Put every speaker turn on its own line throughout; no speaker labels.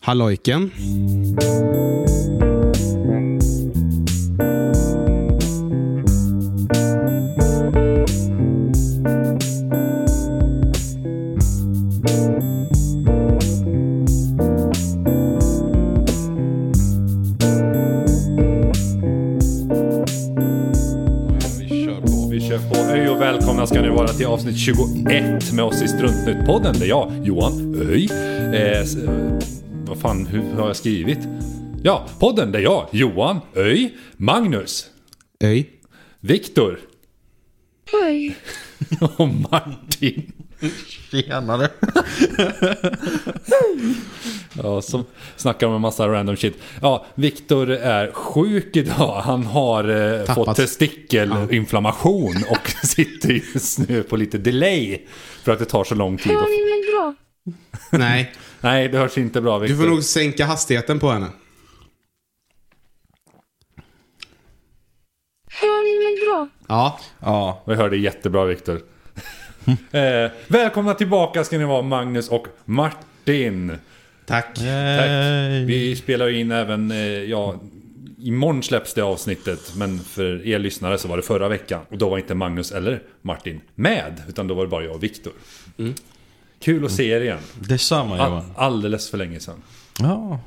hallojken.
Vi kör på, vi kör på. Hej och välkomna ska ni vara till avsnitt 21 med oss i Struntnytt-podden där jag, Johan Öj, eh, s- eh, vad fan, hur har jag skrivit? Ja, podden där jag, Johan Öj, Magnus,
Öj.
Viktor
Oj.
och Martin.
Tjenare.
Ja, som snackar om en massa random shit. Ja, Viktor är sjuk idag. Han har eh, fått testikelinflammation och sitter just nu på lite delay för att det tar så lång tid.
Hör
att-
ni mig bra?
Nej,
Nej, det hörs inte bra
du
Viktor.
får nog sänka hastigheten på henne.
Hör ni mig bra?
Ja.
Ja,
Vi hörde jättebra Viktor. eh, välkomna tillbaka ska ni vara Magnus och Martin.
Tack.
Tack. Vi spelar ju in även, eh, ja, imorgon släpps det avsnittet. Men för er lyssnare så var det förra veckan. Och då var inte Magnus eller Martin med. Utan då var det bara jag och Viktor. Kul att se er igen.
detsamma
All,
Johan.
alldeles för länge sedan.
Ja,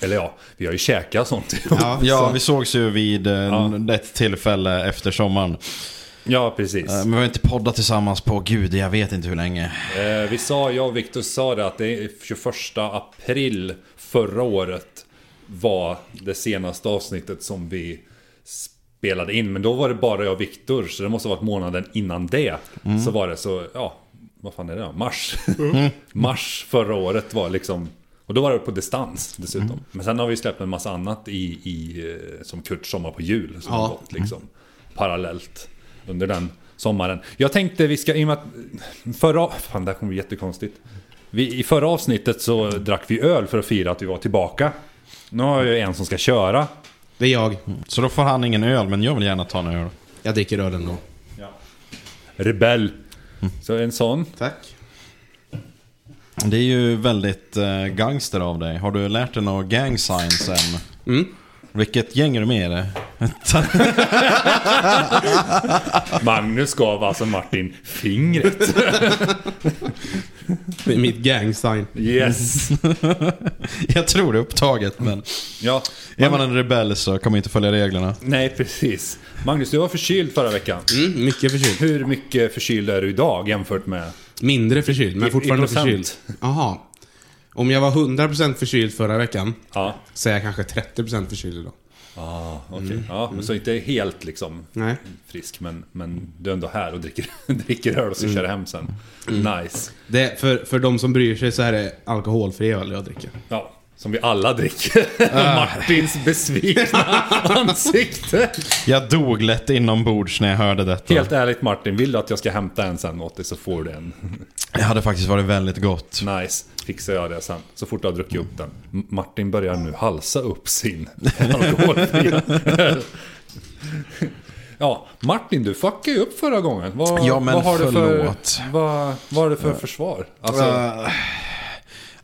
Eller ja, vi har ju käkat och sånt.
Ja,
ja
ja,
vi sågs ju vid ja. ett tillfälle efter sommaren.
ja, precis.
Eh, Men vi har inte poddat tillsammans på gud, jag vet inte hur länge.
Eh, vi sa, jag och Viktor sa det att det är 21 april förra året var det senaste avsnittet som vi spelade in. Men då var det bara jag och Viktor, så det måste ha varit månaden innan det. Så var det så, ja, vad fan är det då? Mars. Mars förra året var liksom och då var det på distans dessutom. Men sen har vi släppt en massa annat i, i eh, som Kurt Sommar på jul. Som
Ja.
har gått liksom parallellt under den sommaren. Jag tänkte vi ska, i och med att förra, fan det här kommer bli jättekonstigt. Vi, I förra avsnittet så drack vi öl för att fira att vi var tillbaka. Nu har jag ju en som ska köra.
det är jag.
Så då får han ingen öl, men jag vill gärna ta en öl.
Jag dricker öl ändå.
Rebell. Så en sån.
Tack.
Det är ju väldigt eh, gangster av dig. Har du lärt dig några gang signs än? Vilket gäng är du med i? det?
Magnus gav alltså Martin fingret.
Det är Mitt gangsign.
Yes.
jag tror det är upptaget, men
Ja.
är man en rebell så kommer man inte följa reglerna.
Nej, precis. Magnus, du var förkyld förra veckan.
Mm, mycket förkyld.
Hur mycket förkyld är du idag jämfört med...
Mindre förkyld, men
I-
fortfarande
i procent.
förkyld. Jaha. Om jag var 100% förkyld förra veckan
Ja,
så är jag kanske 30% förkyld idag.
ah, okej. Ja, men så inte helt liksom
Nej.
frisk, men, men du är ändå här och dricker, dricker öl och så kör hem sen. Nice.
Det, är- för, för de som bryr sig så här är det alkoholfri öl jag dricker.
Ja, som vi alla dricker. Martins besvikna ansikte.
Jag dog lätt inombords när jag hörde detta.
Helt ärligt Martin, vill du att jag ska hämta en sen åt dig så får du en.
Det hade faktiskt varit väldigt gott.
Nice, fixar jag det sen. Så fort jag har druckit upp den. M- Martin börjar nu halsa upp sin alkoholfria öl. Ja, Martin du fuckade ju upp förra gången. Vad,
Ja, men
vad har du för,
förlåt.
vad, vad har du för försvar? Alltså,
Eh,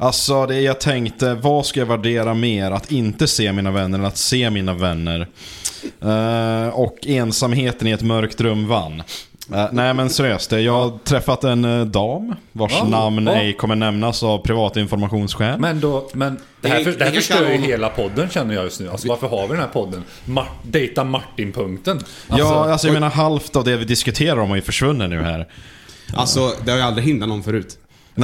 Alltså det jag tänkte, vad ska jag värdera mer? Att inte se mina vänner eller att se mina vänner? Eh, och ensamheten i ett mörkt rum vann. Eh, nej men seriöst, jag har träffat en eh, dam vars
Ja,
namn
ja.
ej kommer nämnas av privatinformationsskäl.
men då, men det här, för, det här
Vi- vi
förstör ju
kan-
hela podden känner jag just nu. Alltså varför har vi den här podden? Mar Dejta Martin-punkten. Alltså,
ja, alltså jag menar halvt av det vi diskuterar om har ju försvunnit nu här.
Alltså, det har ju aldrig hindrat någon förut.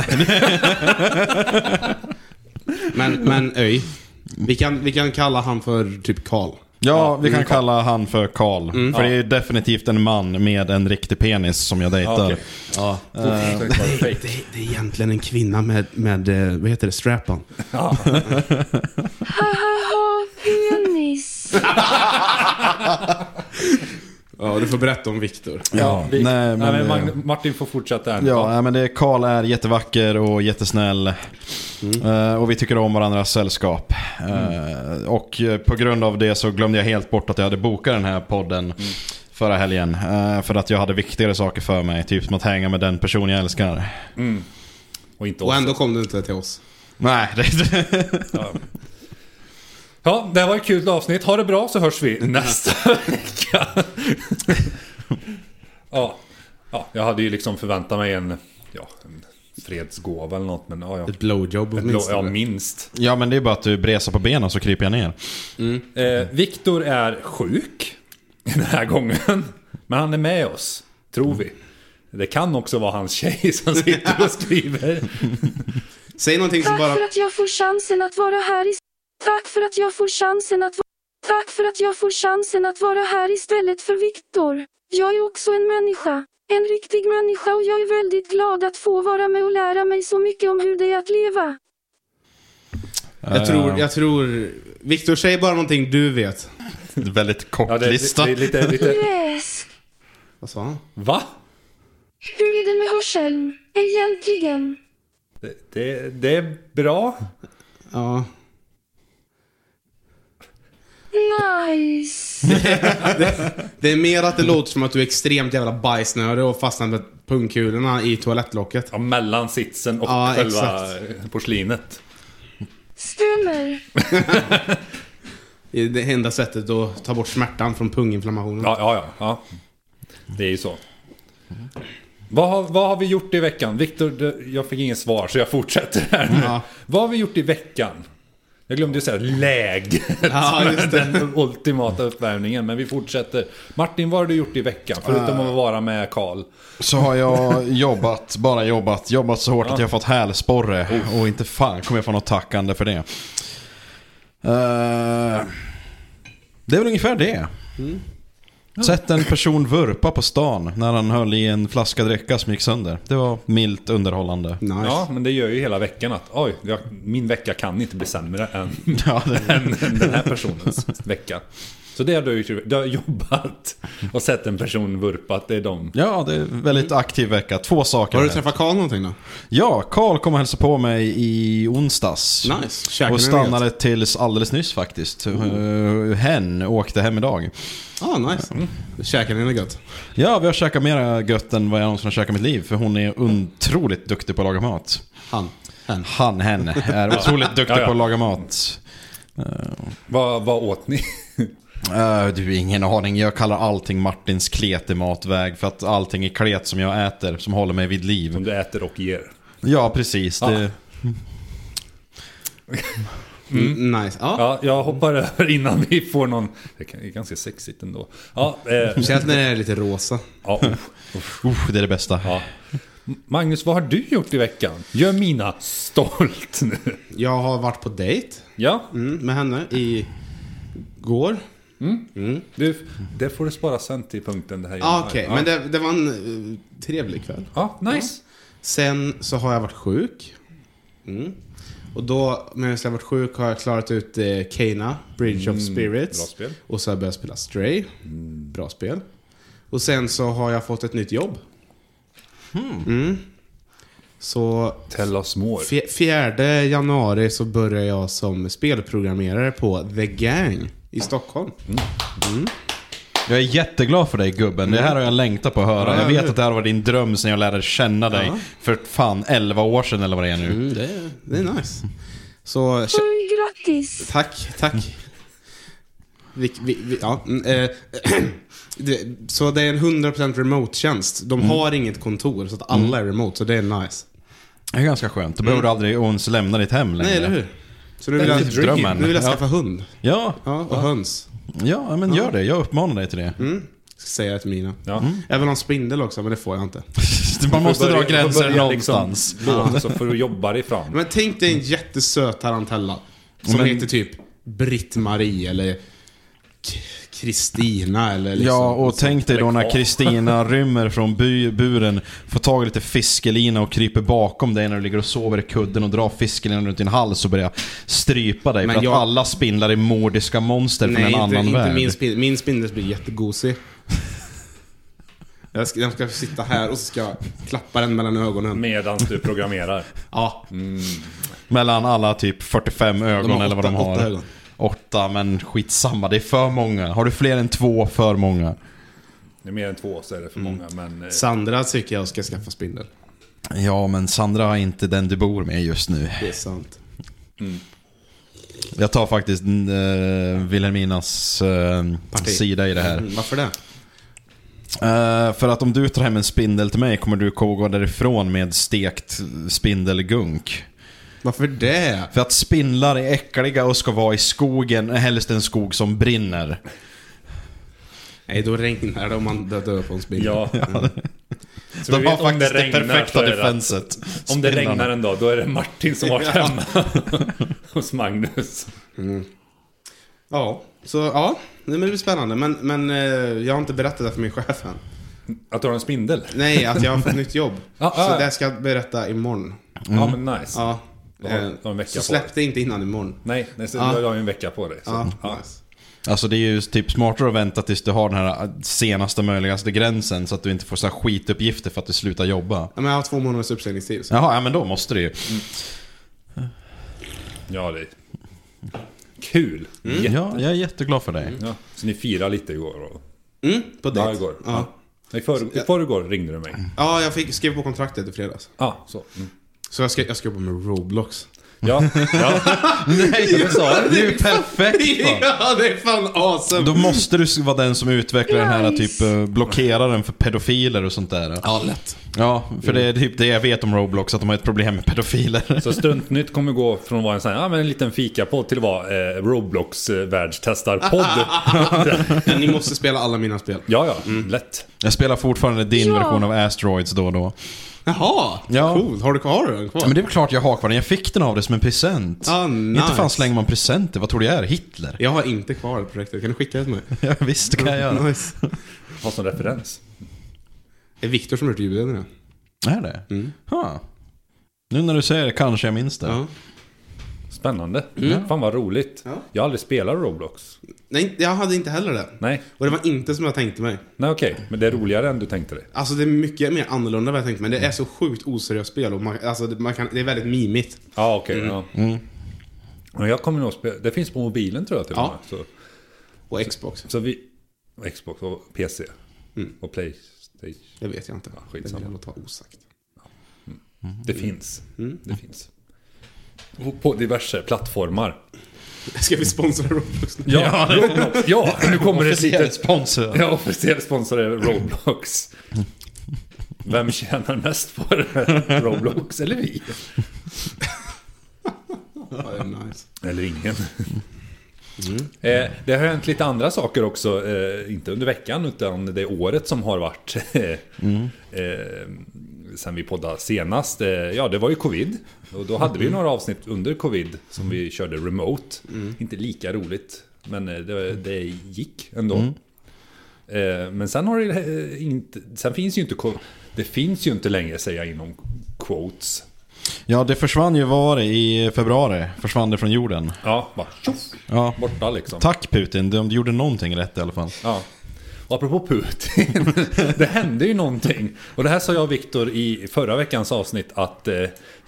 men, men öj. Vi kan, vi kan kalla han för typ Karl.
Ja, vi kan kalla han för Karl.
Mm.
för det är ju definitivt en man med en riktig penis som jag dejtar.
ja, okej.
Ja.
Fortsätt vara fake.
Det, det är egentligen en kvinna med, med eh, vad heter det, strap-on.
Ja.
Haha, penis.
Ja, du får berätta om Viktor.
Ja,
Vi,
nej, men, eh,
Magn- Martin får fortsätta här.
Ja, nej, men det, Karl är jättevacker och jättesnäll. Eh, och vi tycker om varandras sällskap. Eh, och eh, på grund av det så glömde jag helt bort att jag hade bokat den här podden förra helgen. Eh, för att jag hade viktigare saker för mig. Typ som att hänga med den person jag älskar.
Och inte
Och
oss.
ändå kom du inte till oss.
Nej, det,
Ja. ja, det här var ett kul avsnitt. Ha det bra så hörs vi nästa vecka. ja. ja, jag hade ju liksom förväntat mig en, ja, en fredsgåva eller något, men ja, ja.
Ett blowjob
Ja,
åtminstone.
minst.
ja men det är bara att du bresar på benen så kryper jag ner.
Eh, Viktor är sjuk den här gången. Men han är med oss, tror vi. Det kan också vara hans tjej som sitter och skriver.
Säg någonting som
Tack
bara...
för att jag får chansen att vara här i... Tack för att jag får chansen att... Tack för att jag får chansen att vara här istället för Viktor. Jag är också en människa. En riktig människa och jag är väldigt glad att få vara med och lära mig så mycket om hur det är att leva.
Jag tror, jag tror... Viktor, säg bara någonting du vet.
En väldigt kort
Ja, det, det,
lista.
det är lite, lite...
Yes.
Vad sa han?
Va?
Hur är det med hörseln? Egentligen.
Det, det, det är bra.
Ja.
Nice.
Det är mer att det låter som att du är extremt jävla bajsnödig och fastnar med pungkulorna i toalettlocket.
Ja, mellan sitsen och
Ja,
själva porslinet.
Stämmer.
Det är det enda sättet att ta bort smärtan från punginflammationen.
Ja, ja, ja. ja. Det är ju så. Vad har, vad har vi gjort i veckan? Viktor, du- jag fick inget svar så jag fortsätter här nu.
Ja.
Vad har vi gjort i veckan? Jag glömde ju säga läget.
Ja, just det.
Den ultimata uppvärmningen. Men vi fortsätter. Martin, vad har du gjort i veckan?
Eh.
Förutom att vara med Karl.
Så har jag jobbat, bara jobbat, jobbat så hårt att jag fått hälsporre. Och inte fan kommer jag få något tackande för det. Eh, det är väl ungefär det.
Mm.
Sett en person vurpa på stan när han höll i en flaska dricka som gick sönder. Det var milt underhållande.
Nice.
Ja, men det gör ju hela veckan att oj, jag, min vecka kan inte bli sämre än,
Ja, det,
än, än den här personens vecka. Så det har du gjort. Du har jobbat och sett en person vurpa. att Det är de
ja, det är en väldigt aktiv vecka. Två saker.
Mm. Har du
här.
träffat Karl någonting då?
Ja, Karl kom och hälsade på mig i onsdags.
Nice. Käkade
och
ni Mm.
stannade tills alldeles nyss faktiskt. Eh, hen åkte hem idag.
Ah, nice.
Mm.
Käkade ni något gött?
Ja, vi har käkat mera gött än vad jag någonsin har käkat i mitt liv. För hon är otroligt duktig på att laga mat.
Han. Hen.
Han, hen, är otroligt duktig
Ja, ja.
på att laga mat.
Vad, vad åt ni?
Eh, du, ingen aning. Jag kallar allting Martins klet i matväg. För att allting är klet som jag äter som håller mig vid
Som
liv.
du äter och ger.
Ja, precis. Det,
Mm, Nice. Ja.
Ja, jag hoppar över innan vi får någon... Det kan- det är ganska sexigt ändå. Ja, eh,
Känns när det är lite rosa.
ja, uff, uff,
uff, det är det bästa.
ja. Magnus, vad har du gjort i veckan? Gör mina stolt nu.
Jag har varit på dejt
Ja,
mm, med henne i går.
du, det får du spara sen till punkten. Det här
Ah, Okej,
ja.
men det, det var en eh, trevlig kväll.
Ja, nice.
Sen så har jag varit sjuk. Mm. Och då, medan jag varit sjuk, har jag klarat ut eh, Kena, Bridge of Spirits.
Mm, bra spel. Mm.
Och så har jag börjat spela Stray. Bra spel. Och sen så har jag fått ett nytt jobb.
Hmm.
Mm. Så
Tell us more.
fj- fjärde januari så börjar jag som spelprogrammerare på The Gang i Stockholm.
Mm.
Jag är jätteglad för dig gubben. Det här har jag längtat på att höra.
Ja,
jag vet
eller?
att det här var din dröm sen jag lärde känna dig. För fan 11 år sedan eller vad det är nu.
Mm, det, är, det är nice. Så kä-
Oj, grattis.
Tack, tack. Vi, vi, vi, ja, mm, eh, det, så det är en 100% remote-tjänst. De
Mm.
har inget kontor, så att alla är remote, så det är nice.
Det är ganska skönt. Då behöver du aldrig ens lämna ditt hem längre.
Mm. Nej, eller hur? Så nu vill,
Det är
jag,
lite drömmen.
nu vill jag
Ja.
skaffa hund.
Ja,
Ja, och höns.
ja men gör det. Jag uppmanar dig till det.
Mm. Ska säga det till mina.
Ja.
Jag vill ha en spindel också, men det får jag inte.
Mm. Man måste
Får
dra
börja- får
gränser
börja liksom
någonstans.
låta Så får du jobba dig fram.
Men tänk dig en jättesöt tarantella. Som
Men-
heter typ Britt-Marie eller K- Kristina eller liksom.
Ja, och tänk dig då när
kvar.
Kristina rymmer från by, buren, får tag i lite fiskelina och kryper bakom dig när du ligger och sover i kudden och drar fiskelinan runt din hals och börjar strypa dig.
Men
för
jag-
att alla spindlar är mordiska monster från
Nej,
en
inte,
annan
inte
värld.
min spindel. Min spindel blir jättegosig. Jag ska, jag ska sitta här och så ska jag klappa den mellan ögonen.
Medan du programmerar.
Ja,
Mellan alla typ 45 ögon
har
eller vad de
åtta-
har.
åtta ögon.
Åtta, men skitsamma. Det är för många. Har du fler än två för många?
Det är mer än två så är det för
Mm.
många. Men, eh,
Sandra tycker jag ska skaffa spindel.
Ja, men Sandra är inte den du bor med just nu.
Det är sant.
Jag tar faktiskt eh, Vilhelminas eh,
Parti.
sida i det här.
Mm, Varför det?
Eh, för att om du tar hem en spindel till mig kommer du gå därifrån med stekt spindelgunk.
Varför det?
För att spindlar är äckliga och ska vara i skogen, eh, helst en skog som brinner.
Nej, då regnar det om man dö- dör på en spindel.
Ja. Mm. Så vi
De har
vet om
faktiskt det,
regnar så
perfekta
är det-
defenset.
Om det
Spindlarna.
regnar en dag, då är det Martin som har varit hemma hos Magnus.
Ja, så ja. Nej, men det blir spännande. Men, men eh, jag har inte berättat det för min chef än.
Att du har en spindel?
Nej, att jag har fått nytt jobb.
Ja, ja,
Så
ja.
det ska jag berätta imorgon.
Ja, men nice.
Mm. Ja.
Då har-
eh,
då har en vecka
så
på
släpp det inte innan imorgon.
Nej, nej så
Ja.
du har ju en vecka på dig. Så.
Ja,
Ja.
nice.
Alltså det är ju typ smartare att vänta tills du har den här eh, senaste möjligaste gränsen så att du inte får så här skituppgifter för att du slutar jobba.
Ja, men jag har två månaders uppsägningstid. Så.
Jaha, ja men då måste det ju.
ja, det är kul.
Mm.
Jätte-
Ja, jag är jätteglad för dig.
Ja. Så ni firade lite igår? Och...
Mm, på
Ja,
dejt.
igår.
Ja. Mm.
Ja. I för, i förrgår ringde du mig.
ja, jag fick, skrev på kontraktet i fredags.
Ja, så. Mm.
Så jag ska, jag ska jobba med Roblox.
Ja, ja.
Nej, du sa det. Det är ju perfekt va?
ja, det är fan awesome!
Då måste du vara den som utvecklar den här typ eh, blockeraren för pedofiler och sånt där.
Ja, lätt.
Ja, för det är typ det jag vet om Roblox, att de har ett problem med pedofiler.
Så Stuntnytt kommer gå från att vara en, sån här, ja, men en liten fikapodd till att vara eh, Roblox eh, världstestarpodd.
Ni måste spela alla mina spel.
Ja, ja,
Mm.
lätt.
Jag spelar fortfarande din
Ja.
version av Asteroids då och då.
Jaha,
Ja.
coolt. Har du, har du den kvar?
Men det är väl klart jag har kvar den, jag fick den av dig som en present.
Ah, nice.
Inte fan slänger man presenter, vad tror du jag är? Hitler?
Jag har inte kvar det projektet. Kan du skicka det till mig?
Ja, visst det kan jag göra.
Nice.
Ha som referens.
Det är Viktor som har gjort ljudbilderna.
Är det? Huh. Nu när du säger det kanske jag minns det.
Ja.
Spännande. Fan vad roligt.
Ja.
Jag har aldrig spelat Roblox.
Nej, jag hade inte heller det.
Nej,
Och det var inte som jag tänkte mig.
nej okej. Men det är roligare än du tänkte dig.
Alltså det är mycket mer annorlunda än vad jag tänkte mig. Det är så sjukt oseriöst spel och man, alltså, det, man kan, det är väldigt mimigt.
Ja, okej. ja. Men jag kommer nog spela. Det finns på mobilen tror jag till och
Ja.
med. Så,
Och Xbox,
så vi... Xbox och PC. Och Playstation.
det vet jag inte.
Ja,
det
skitsamma.
vill jag låta vara osagt.
Det finns. Det finns. Och På diverse plattformar.
Ska vi sponsra Roblox nu?
Ja, Roblox. Ja, nu kommer det ett
Officiell
litet...
sponsor.
Ja, officiell sponsor är Roblox. Vem tjänar mest på det? Roblox eller vi?
Ja, det är nice.
Eller ingen. Eh, det har hänt lite andra saker också, eh, inte under veckan utan det året som har varit. eh, sen vi poddade senast, eh, ja det var ju covid. Och då hade vi några avsnitt under covid som vi körde remote. Inte lika roligt, men eh, det, det gick ändå. Eh, men sen har det eh, inte, sen finns ju inte, co- det finns ju inte längre säger jag inom quotes.
Ja, det försvann ju var det i februari. Försvann det från jorden.
Ja, bara tjoff,
Ja.
borta liksom.
Tack Putin, du gjorde någonting rätt i alla fall.
Ja. Och apropå Putin, det hände ju någonting. Och det här sa jag och Viktor i förra veckans avsnitt att eh,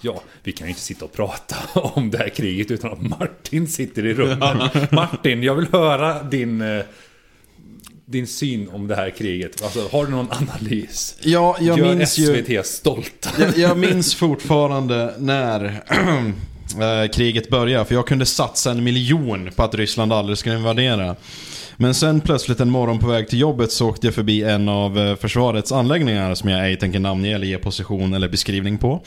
ja, vi kan ju inte sitta och prata om det här kriget utan att Martin sitter i rummet. Martin, jag vill höra din, eh, din syn om det här kriget. Alltså, har du någon analys?
Ja, jag
Gör
minns ju...
SVT stolta.
jag, jag minns fortfarande när eh, kriget började, för jag kunde satsa en miljon på att Ryssland aldrig skulle invadera. Men sen plötsligt en morgon på väg till jobbet så åkte jag förbi en av eh, försvarets anläggningar som jag ej tänker namnge eller ge position eller beskrivning på.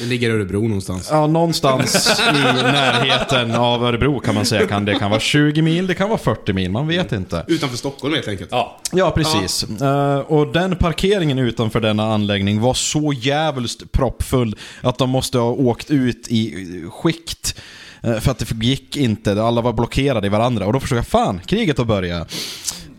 Det ligger i Örebro någonstans.
Ja, någonstans i närheten av Örebro kan man säga. Kan, det kan vara 20 mil, det kan vara 40 mil, man vet inte.
Utanför Stockholm helt enkelt.
Ja,
Ja, precis. Eh, och den parkeringen utanför denna anläggning var så jävligt proppfull att de måste ha åkt ut i skikt. eh, för att det gick inte. Alla var blockerade i varandra. Och då förstod jag, fan, kriget har börjat.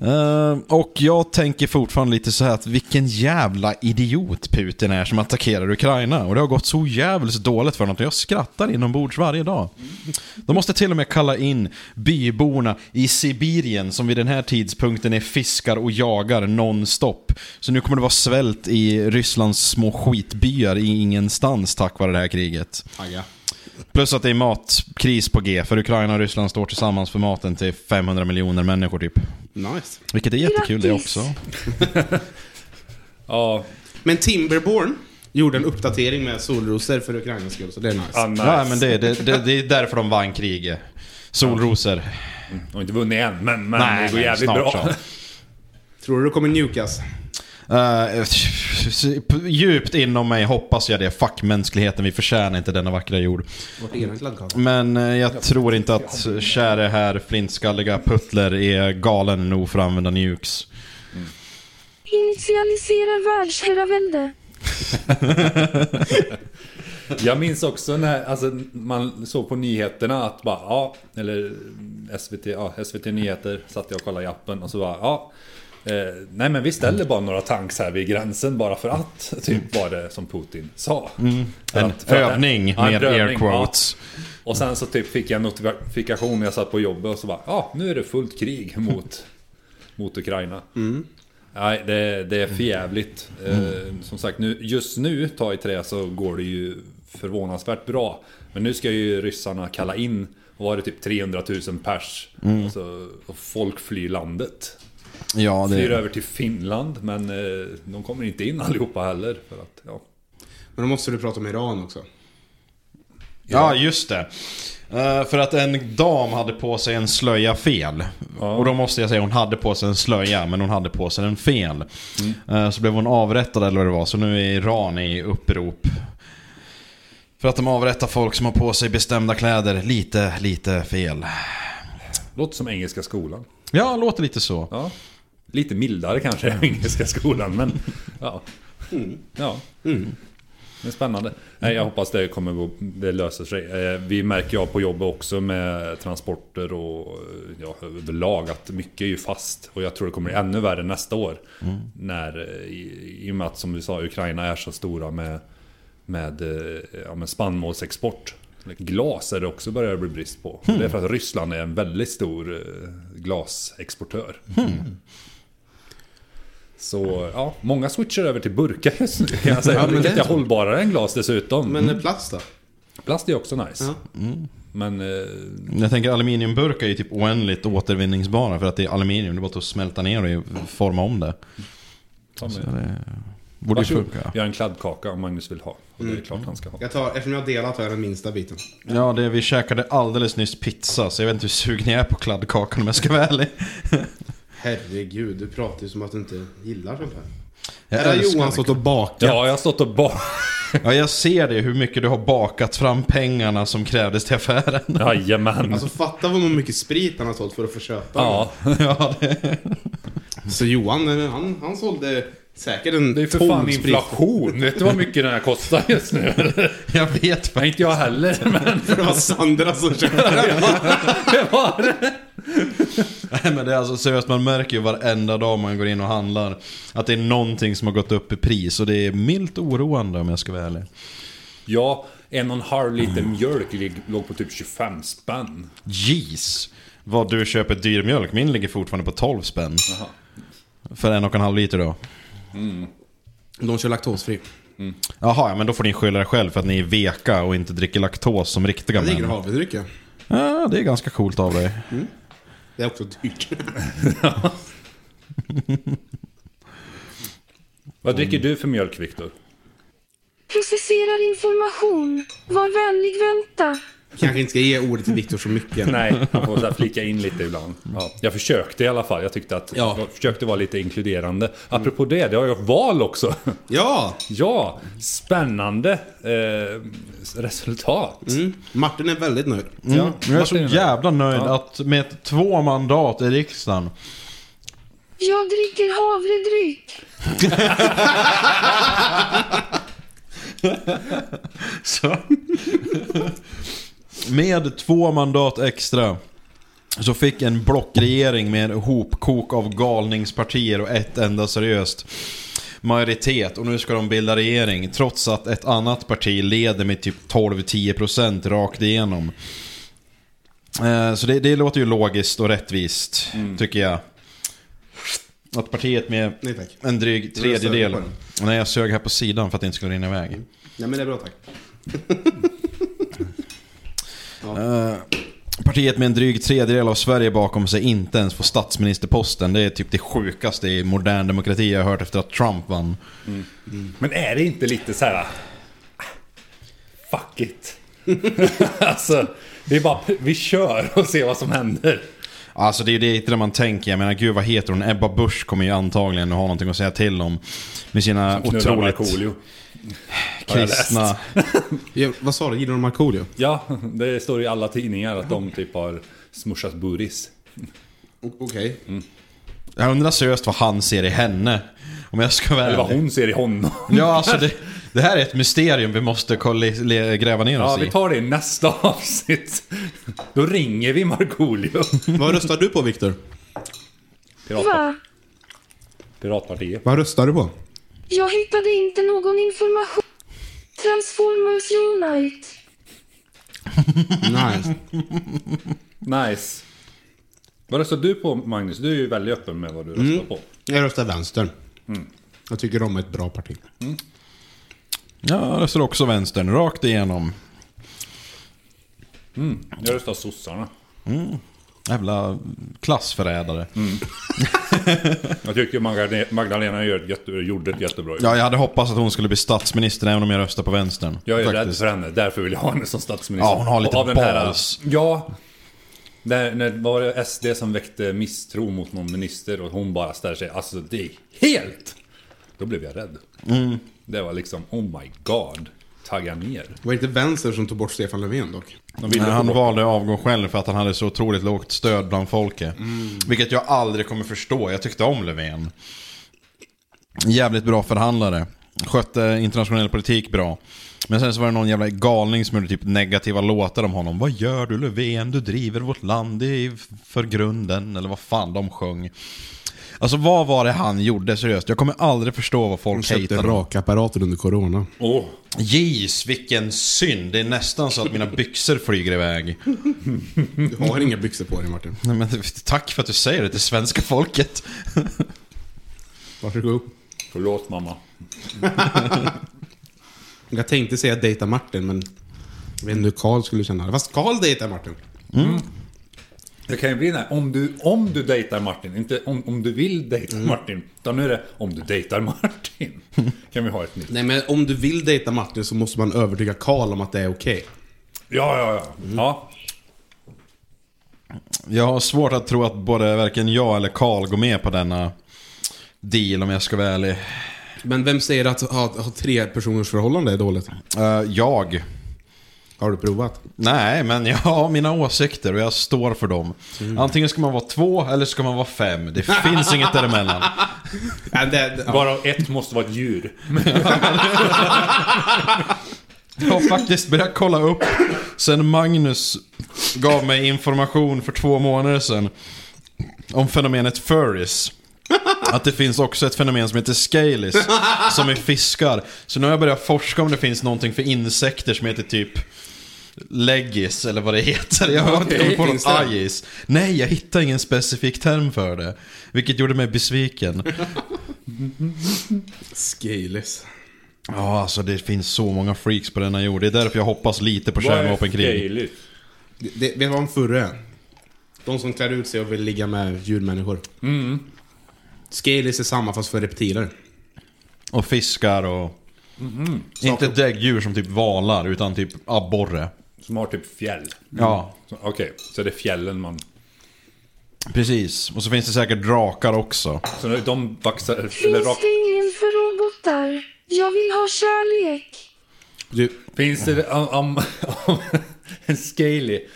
Eh, och jag tänker fortfarande lite så här att vilken jävla idiot Putin är som attackerar Ukraina. Och det har gått så jävligt dåligt för honom. att Jag skrattar inombords varje dag. De måste till och med kalla in byborna i Sibirien som vid den här tidpunkten är fiskar och jagar nonstop. Så nu kommer det vara svält i Rysslands små skitbyar i ingenstans tack vare det här kriget.
Agga.
Plus att det är matkris på G, för Ukraina och Ryssland står tillsammans för maten till 500 miljoner människor typ.
Nice.
Vilket är jättekul det
Grattis.
också.
ja,
Men Timberborn gjorde en uppdatering med solrosor för Ukrainas skull, så det är nice.
Ah, nice.
Nej men det, det, det, det är därför de vann kriget. Solrosor.
De har inte vunnit än, men, men
Nej,
det går
men
jävligt
snart
bra.
så.
Tror du det kommer njukas?
Eh, djupt inom mig hoppas jag det. Fuck mänskligheten, vi förtjänar inte denna vackra jord.
Vårt eget laddkabel.
Men eh, jag tror inte att käre herr flintskalliga Puttler är galen nog för att använda nukes.
Initialiserar världsherravälde.
Jag minns också när alltså, man såg på nyheterna att bara ja, eller SVT, ja, SVT Nyheter satt jag och kollade i appen och så bara ja. Eh, nej men vi ställer bara några tanks här vid gränsen bara för att. Typ var det som Putin sa. För
Mm. En
att- för att-
övning
Ja, en
med
övning,
air
ja.
quotes.
Och sen så typ fick jag en notifikation när jag satt på jobbet och så bara ja, nu är det fullt krig mot, mot Ukraina.
Mm.
Nej, det, det är för jävligt. Eh, som sagt, nu, just nu, ta i trä, så går det ju förvånansvärt bra. Men nu ska ju ryssarna kalla in, vad var det typ 300 000 pers?
Mm.
Och, så, och folk flyr landet.
Ja,
Flyr
det,
över till Finland, men eh, de kommer inte in allihopa heller. För att, ja.
Men då måste du prata om Iran också.
ja just det. Eh, för att en dam hade på sig en slöja fel.
Ja.
Och då måste jag säga hon hade på sig en slöja men hon hade på sig den fel. Eh, så blev hon avrättad eller vad det var. Så nu är Iran i upprop. För att de avrättar folk som har på sig bestämda kläder lite, lite fel.
Låter som Engelska skolan.
Ja, låter lite så.
Ja. Lite mildare kanske än Engelska skolan, men ja. Ja. Det är spännande. Nej, jag hoppas det kommer gå, det löser sig. Eh, Vi märker ju av på jobbet också med transporter och eh, ja, överlag att mycket är ju fast. Och jag tror det kommer bli ännu värre nästa år. När, eh, i, I och med att som du sa, Ukraina är så stora med, med, eh, ja, med spannmålsexport. Glas är det också börjar bli brist på. Det är för att Ryssland är en väldigt stor eh, glasexportör. Så ja, många switchar över till burkar just nu kan jag säga.
Ja, men
Vilket
det
är
är så.
hållbarare än glas dessutom.
Men mm. plast då?
Plast är också nice.
Ja.
Mm.
Men eh,
Jag tänker aluminiumburkar är ju typ oändligt återvinningsbara för att det är aluminium. Det är bara att smälta ner och forma om det.
ta
Så
med.
det borde ju
Varsågod.
funka.
Jag har en kladdkaka om Magnus vill ha. Och det är klart han ska ha.
Jag tar, eftersom jag har delat tar jag den minsta biten.
Ja, det, vi käkade alldeles nyss pizza så jag vet inte hur sugen jag är på kladdkakan om jag ska vara ärlig.
Herregud, du pratar ju som att du inte gillar sånt här.
Jag
Här har
älskar
Johan stått och bakat.
Ja, jag har stått och bara...
Ja, jag ser det hur mycket du har bakat fram pengarna som krävdes till affären.
Jajamän.
Alltså fatta vad mycket sprit han har sålt för att få köpa.
ja,
Ja, det,
den. Så Johan, eh, han, han sålde säkert en
det är för
ton
fan
sprit.
inflation. Vet du vad mycket den här kostar just nu?
jag vet
Nej,
faktiskt.
inte jag heller, men
För det var Sandra som köpte den.
det var det.
Nej, men det är alltså seriöst, man märker ju varenda dag man går in och handlar att det är någonting som har gått upp i pris och det är milt oroande om jag ska vara ärlig.
Ja, en och en halv liter mjölk lig- låg på typ 25 spänn.
Jeez! Vad du köper dyr mjölk. Min ligger fortfarande på 12 spänn. För en och en halv liter då.
De kör laktosfri.
Jaha, ja, men då får ni skylla er själv för att ni är veka och inte dricker laktos som riktiga
Det är
män.
havredryck ja.
Ja, det är ganska coolt av dig.
Det är också dyrt.
Vad dricker du för mjölk, Viktor?
Processerar information. Var vänlig vänta.
Kanske inte ska ge ordet till Viktor så mycket.
Nej, man får så här flika in lite ibland. Ja, jag försökte i alla fall. Jag tyckte att
Ja.
jag försökte vara lite inkluderande. Apropå det, det har ju varit val också.
Ja!
Ja, spännande eh, resultat.
Mm. Martin är väldigt nöjd.
Ja,
Mm. Jag är så
Martin är nöjd.
jävla nöjd
Ja.
att med två mandat i riksdagen.
Jag dricker havredryck.
Så. med två mandat extra. Så fick en blockregering med en hopkok av galningspartier och ett enda seriöst majoritet och nu ska de bilda regering trots att ett annat parti leder med typ 12-10% rakt igenom. Eh, Så det, det låter ju logiskt och rättvist tycker jag. Att partiet med
Mm. Nej tack.
en dryg
sög du
tredjedel.
på
Nej, jag sög här på sidan för att det inte skulle rinna iväg.
Nej men det är bra tack.
Eh, Partiet med en dryg tredjedel av Sverige bakom sig inte ens får statsministerposten. Det är typ det sjukaste i modern demokrati jag har hört efter att Trump vann.
Men är det inte lite så här... ah, Fuck it. alltså, det är bara, vi kör och ser vad som händer.
Alltså det är ju det inte det man tänker. Jag menar gud vad heter hon? Ebba Busch kommer ju antagligen att ha någonting att säga till om. Med sina
Knullar
otroligt
Markoolio. har jag läst.
kristna...
Ja, vad sa du? Gillar du Markoolio?
Ja, det står i alla tidningar att de typ har smushat buris.
O- Okej.
Jag undrar seriöst vad han ser i henne. Om jag ska vara
Eller vad
ärlig.
hon ser i honom.
Ja alltså det, det här är ett mysterium vi måste kolla, le, gräva ner
Ja,
oss
vi
i.
tar det i nästa avsnitt. Då ringer vi Markoolio.
Vad röstar du på, Viktor?
Piratpar-
Va?
Piratpartiet.
Vad röstar du på?
Jag hittade inte någon information. Transformers Unite.
Nice.
Nice. Vad röstar du på Magnus? Du är ju väldigt öppen med vad du röstar på.
Jag röstar vänster. Mm. Jag tycker de är ett bra parti.
Ja, det står också vänstern rakt igenom.
Jag röstar sossarna.
Jävla klassförrädare.
Jag tycker Magdalena- Magdalena gör ett jätte, gjorde ett jättebra jobb.
Ja, jag hade hoppats att hon skulle bli statsminister även om jag röstar på vänstern.
Jag är rädd
Faktiskt.
för henne, därför vill jag ha henne som statsminister.
Ja, hon har lite
Och
balls.
Ja. När, när var det SD som väckte misstro mot någon minister och hon bara ställer sig, alltså det är helt... Då blev jag rädd.
Mm.
Det var liksom, oh my god. Tagga ner.
Det var inte vänster som tog bort Stefan Löfven dock.
De ville
Nej,
få
han
bort-
valde att avgå själv för att han hade så otroligt lågt stöd bland folket. Vilket jag aldrig kommer förstå. Jag tyckte om Löfven. Jävligt bra förhandlare. Skötte internationell politik bra. Men sen så var det någon jävla galning som gjorde typ negativa låtar om honom. Vad gör du Löfven? Du driver vårt land i för grunden. Eller vad fan de sjöng. Alltså vad var det han gjorde seriöst? Jag kommer aldrig förstå vad
De
folk
köpte
hatar honom.
rakapparater under corona.
Åh,
Jeez, vilken synd. Det är nästan så att mina byxor flyger iväg.
Du har inga byxor på dig Martin.
Nej, men tack för att du säger det till svenska folket.
Varsågod.
förlåt mamma.
Jag tänkte säga dejta Martin men jag vet inte hur Karl skulle känna. det. Fast Karl dejtar Martin.
Det kan ju bli den här, om du, om du dejtar Martin, inte om, om du vill dejta
Mm.
Martin. Utan nu är det, om du dejtar Martin. Kan vi ha ett nytt?
Nej men om du vill dejta Martin så måste man övertyga Karl om att det är okej.
Ja, ja, ja.
Mm.
Ja,
Jag har svårt att tro att både varken jag eller Karl går med på denna deal om jag ska vara ärlig.
Men vem säger att ha, ha tre personers förhållande är dåligt?
Eh, jag?
Har du provat?
Nej, men jag har mina åsikter och jag står för dem. Antingen ska man vara två eller ska man vara fem. Det finns inget däremellan.
Ja, det, det, ja.
Bara ett måste vara ett djur.
Jag har faktiskt börjat kolla upp sen Magnus gav mig information för två månader sedan om fenomenet furries. Att det finns också ett fenomen som heter scalis, som är fiskar. Så nu har jag börjat forska om det finns någonting för insekter som heter typ leggis eller vad det heter. Jag har inte
Okej,
kommit på något
finns det?
ajis. Nej, jag hittade ingen specifik term för det. Vilket gjorde mig besviken.
Scalis.
Ja, alltså det finns så många freaks på denna jord. Det är därför jag hoppas lite på kärnvapenkrig.
Gaelic?
Det, det, vet du vad en furre är? De som klär ut sig och vill ligga med djurmänniskor. Mm. Scalis är samma fast för reptiler.
Och fiskar och... Mm-hmm. Inte däggdjur som typ valar, utan typ abborre. Mm.
Som har typ fjäll.
Ja,
Så- Okej, så det är fjällen man...
precis. Och så finns det säkert drakar också.
Så när de vaxar... Eller
Finns
rak...
det ingen för robotar? Jag vill ha kärlek.
Du,
Finns det... Om, om, om, en scaly.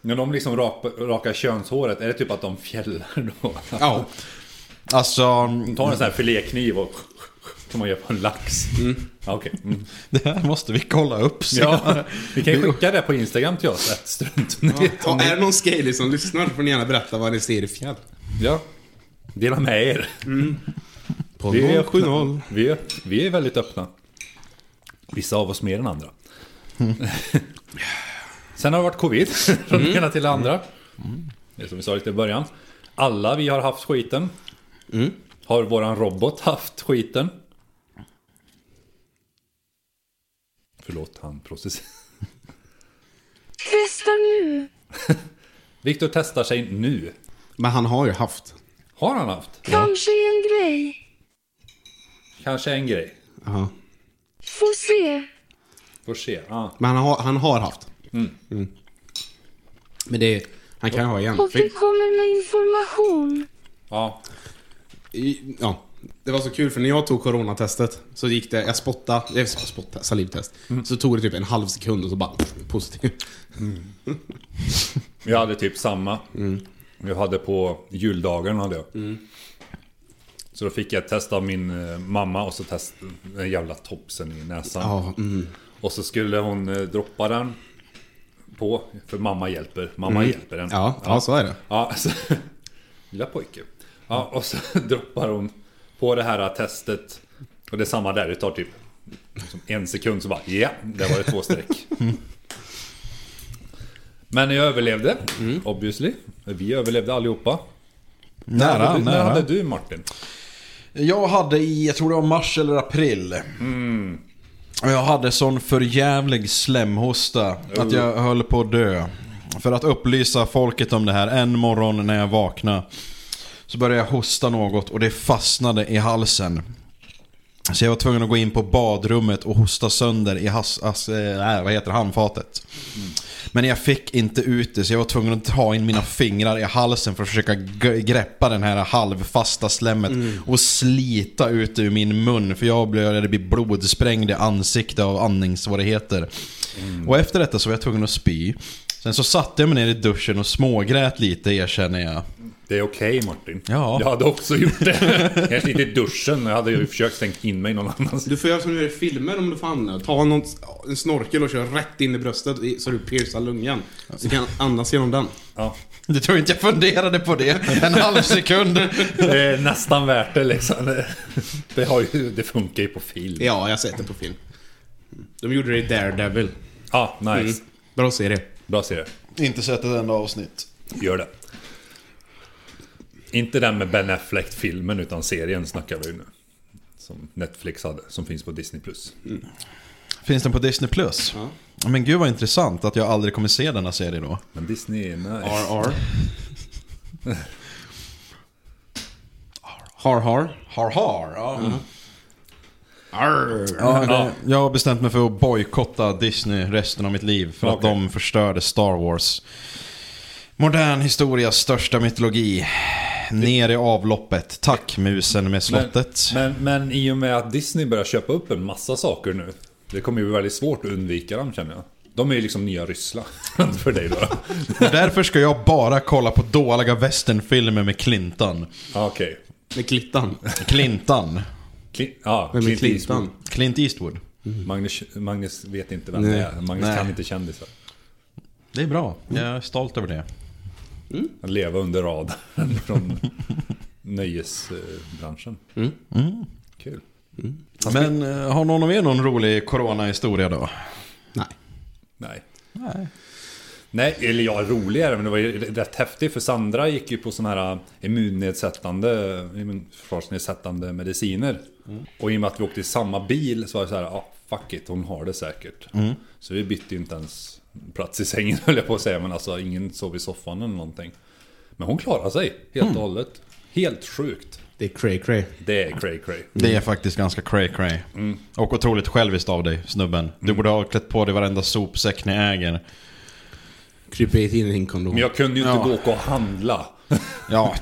När de liksom rak, rakar könshåret, är det typ att de fjällar då?
ja.
Alltså,
De tar en sån här filékniv och... Som man gör på en lax. Ja, Okej. Mm.
det här måste vi kolla upp
Ja,
senare.
vi kan ju skicka det på Instagram till oss, ett struntnytt.
Ja, är det någon scalis som lyssnar får ni gärna berätta vad ni ser i fjäll.
Ja. Dela med er.
På
Vi är
070.
öppna. Vi är, vi är väldigt öppna. Vissa av oss mer än andra. Sen har det varit covid, från det ena till det andra. Det är som vi sa lite i början. Alla vi har haft skiten. Har våran robot haft skiten? Förlåt, han process.
Testa nu.
Viktor testar sig nu.
Men han har ju haft.
Har han haft?
Kanske en grej.
Kanske en grej.
Ja.
Får se.
Får se. Ah.
Men han har, han har haft. Mm. Men det... Han kan ha igen.
Och
För-
det kommer med information.
Ja.
I- Ja. Det var så kul för när jag tog coronatestet så gick det, jag spottade, jag spottade salivtest. Så tog det typ en halv sekund och så bara pff, positiv.
Jag hade typ samma. Jag hade på juldagen hade jag. Så då fick jag ett test av min eh, mamma och så test den jävla topsen i näsan.
Ja, mm.
Och så skulle hon eh, droppa den på, för mamma hjälper. Mamma hjälper den.
Mm. ja, ja, så är det.
Ja, så, lilla pojke. Ja, och så droppar hon på det här testet. Och det är samma där, det tar typ som en sekund så bara ja, där var det två streck. Men jag överlevde,
Mm.
obviously. Vi överlevde allihopa. när,
Nära,
hade du, när hade
nära.
du Martin?
Jag hade i, jag tror det var mars eller april. Och jag hade sån förjävlig slemhosta att jag höll på att dö. För att upplysa folket om det här, en morgon när jag vaknade så började jag hosta något och det fastnade i halsen. Så jag var tvungen att gå in på badrummet och hosta sönder i has, as, eh, nej, vad heter det, handfatet. Men jag fick inte ut det så jag var tvungen att ta in mina fingrar i halsen för att försöka g- greppa den här halvfasta slemmet och slita ut det ur min mun för jag började bli blodsprängd i ansiktet av andningssvårigheter. Och efter detta så var jag tvungen att spy. Sen så satte jag mig ner i duschen och smågrät lite erkänner jag.
Det är okej Martin.
Ja.
Jag hade också gjort det. Jag sitter i duschen och jag hade ju försökt stänga in mig någon annanstans.
Du får göra som du gör i filmer om du får använda. Ta något, en snorkel och kör rätt in i bröstet i- så du piercar lungan. Så du kan andas genom den.
Ja.
Du tror inte jag funderade på det en halv sekund?
Det är nästan värt det liksom. Det, har ju, det funkar ju på film.
Ja, jag har sett det på film. De gjorde det i Daredevil.
Ja, Ah,
Mm.
nice.
Bra serie.
Bra serie.
inte sett ett enda avsnitt.
Gör det. Inte den med Ben Affleck-filmen utan serien snackar vi nu. Som Netflix hade, som finns på Disney+.
Finns den på Disney+. Plus? Men gud vad intressant att jag aldrig kommer se denna serie då.
Men Disney är nice.
RR. Har har.
Har har, ja.
Arr.
Ja, det- Jag har bestämt mig för att bojkotta Disney resten av mitt liv för att
Okej.
de förstörde Star Wars. Modern historias största mytologi. Ner i avloppet. Tack musen med slottet.
Men, men i och med att Disney börjar köpa upp en massa saker nu. Det kommer ju bli väldigt svårt att undvika dem känner jag. De är ju liksom nya Ryssland för dig då.
Och därför ska jag bara kolla på dåliga westernfilmer med Clinton.
Ja, Ah, Okej.
Med klittan.
Clinton.
Clint, ja,
Vem är
Clint Eastwood.
klittan?
Clint Eastwood.
Magnus, Magnus vet inte vem
Nej.
det är. Magnus
Nej.
kan inte kändisar.
Det är bra. Jag är stolt över det.
Att leva under radarn från nöjesbranschen. Kul.
Men eh, har någon av er någon rolig coronahistoria då?
Nej.
Nej. Nej, eller ja, roligare, men det var ju rätt häftigt för Sandra gick ju på sådana här äh, immunnedsättande, immunförsvarsnedsättande mediciner. Och i och med att vi åkte i samma bil så var det så här, ah, fuck it, hon har det säkert. Så vi bytte ju inte ens plats i sängen höll jag på att säga, men alltså ingen sov i soffan eller någonting. Men hon klarade sig helt och hållet. Helt sjukt.
Det är cray cray.
Det är cray cray.
Det är faktiskt ganska cray cray. Och otroligt själviskt av dig, snubben. Du borde ha klätt på dig varenda sopsäck ni äger.
Kryper in i din kondom.
Men jag kunde ju inte
Ja.
gå och handla.
Ja,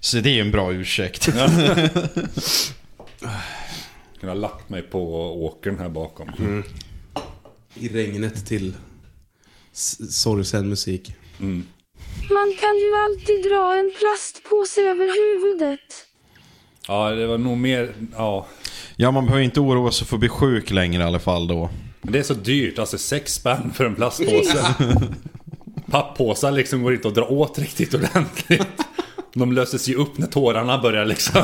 så det är ju en bra ursäkt.
Kunde ha lagt mig på åkern här bakom.
I regnet till s- sorgsen musik.
Man kan ju alltid dra en plastpåse över huvudet.
Ja, det var nog mer... Ja.
Ja, man behöver inte oroa sig för att bli sjuk längre i alla fall då.
Men det är så dyrt, alltså sex spänn för en plastpåse. Pappåsar liksom går inte att dra åt riktigt ordentligt. De löses ju upp när tårarna börjar liksom.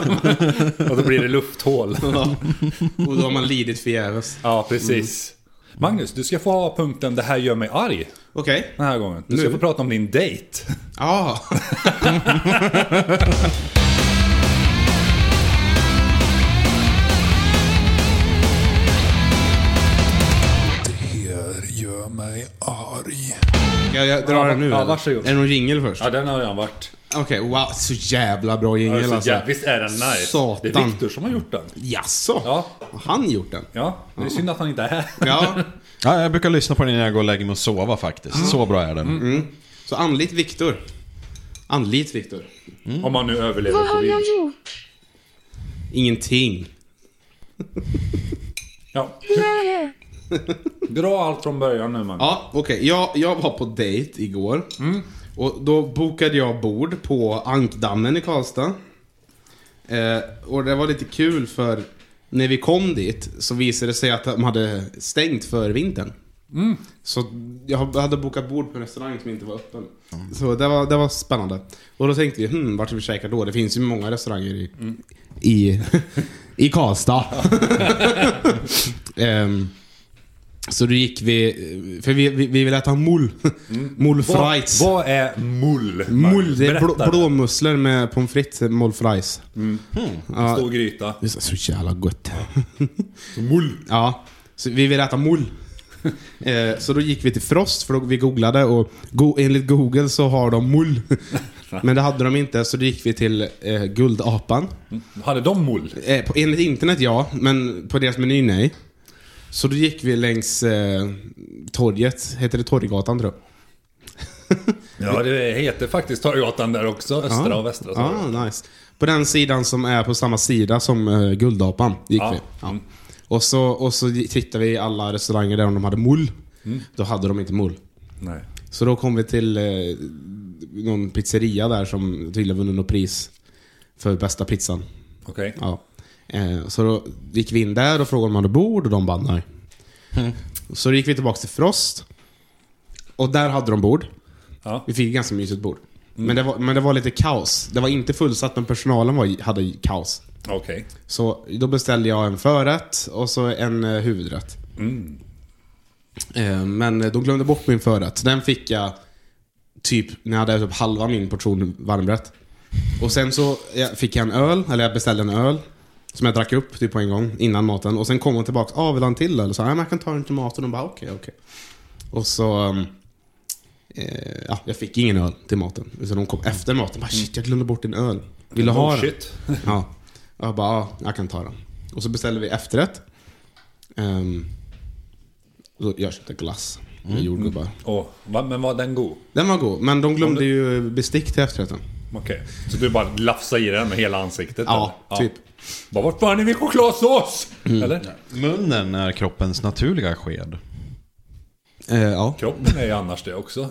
Och då blir det lufthål.
Och då har man lidit förgäves.
Ja, precis. Magnus, du ska få ha punkten Det här gör mig arg
Okej.
den här gången. Du ska
Nu.
få prata om din dejt.
Ja.
Det här gör mig arg.
Ska jag dra
Ja,
den nu
ja,
eller?
varsågod.
Är det någon jingel först?
Ja, den har jag varit.
Okej, wow. Så jävla bra jingel
Alltså,
alltså.
ja, visst är den nice? Det är
Satan.
Viktor som har gjort den.
Jaså?
Ja.
Har han gjort den?
Ja, det är synd att han inte är här.
Ja.
Ja, jag brukar lyssna på den innan jag går och lägger mig och sova faktiskt. Så bra är den.
Så anlit Viktor. Anlit Viktor. Mm.
Om han nu överlever
Vad har
covid.
jag gjort?
Ingenting.
Ja,
Nej.
dra allt från början nu man.
Ja, okej. Jag, jag var på dejt igår. Och då bokade jag bord på Ankdammen i Karlstad. Eh, och det var lite kul för när vi kom dit så visade det sig att de hade stängt för vintern. Så jag hade bokat bord på en restaurang som inte var öppen.
Mm.
Så det var, det var spännande. Och då tänkte vi, hmm, vart ska vi käka då? Det finns ju många restauranger i,
Mm.
i, i Karlstad. Ehm, så då gick vi, för vi, vi, vi ville äta mull. Mull
Mm. Vad,
fries.
vad är mull?
Mull, det är blå,
Berätta.
blåmusslor med pommes frites, mull fries.
En Stor gryta.
Det är så- så jävla gott.
Mull.
Ja, så vi ville äta mull. Eh, så då gick vi till Frost, för då, vi googlade och go, enligt Google så har de mull. Men det hade de inte, så då gick vi till eh, Guldapan.
Hade de mull?
Eh, på, enligt internet ja, men på deras meny nej. Så då gick vi längs eh, torget, heter det Torggatan tror jag?
Ja, det heter faktiskt Torggatan där också. Östra och västra.
Ja,
Torggatan.
ah, nice. På den sidan som är på samma sida som eh, Guldapan gick
Ja.
vi. Ja.
Mm.
Och, så, och så tittade vi i alla restauranger där om de hade mull.
Mm.
Då hade de inte mull.
Nej.
Så då kom vi till eh, någon pizzeria där som tydligen vunnit något pris för bästa pizzan.
Okej.
Ja. Eh, så då gick vi in där och frågade om de hade bord och de bara nej.
Mm.
Så då gick vi tillbaka till Frost. Och där hade de bord.
Ja.
Vi fick ett ganska mysigt bord. Men, det var, men det var lite kaos. Det var inte fullsatt men personalen var, hade kaos.
Okej.
Så då beställde jag en förrätt och så en eh, huvudrätt. Eh, men eh, de glömde bort min förrätt. Så Den fick jag typ när jag hade ätit upp halva min portion varmrätt. Och sen så eh, fick jag en öl, eller jag beställde en öl. Som jag drack upp typ på en gång innan maten. Och sen kom hon tillbaka. Ah, vill han till eller så Nej, men jag kan ta den till maten. Och bara okej, okej. Och så... ehm, Eh, ja, jag fick ingen öl till maten. Utan de kom efter maten. Bara, Shit, jag glömde bort din öl. Vill
Oh,
du ha den?
Bullshit.
Ja. typ. Och jag bara, ja, jag kan ta den. Och så beställde vi efterrätt. Um, då jag köpte glass med jordgubbar.
Åh, va, men var den god?
Den var god, men de glömde ju bestick till efterrätten.
Okej. Så du bara lafsade i den med hela ansiktet?
Ja,
eller?
typ. Mm.
Bara, vart fan är min chokladsås? Eller?
Munnen är kroppens naturliga sked.
Eh, ja.
Kroppen är ju annars det också.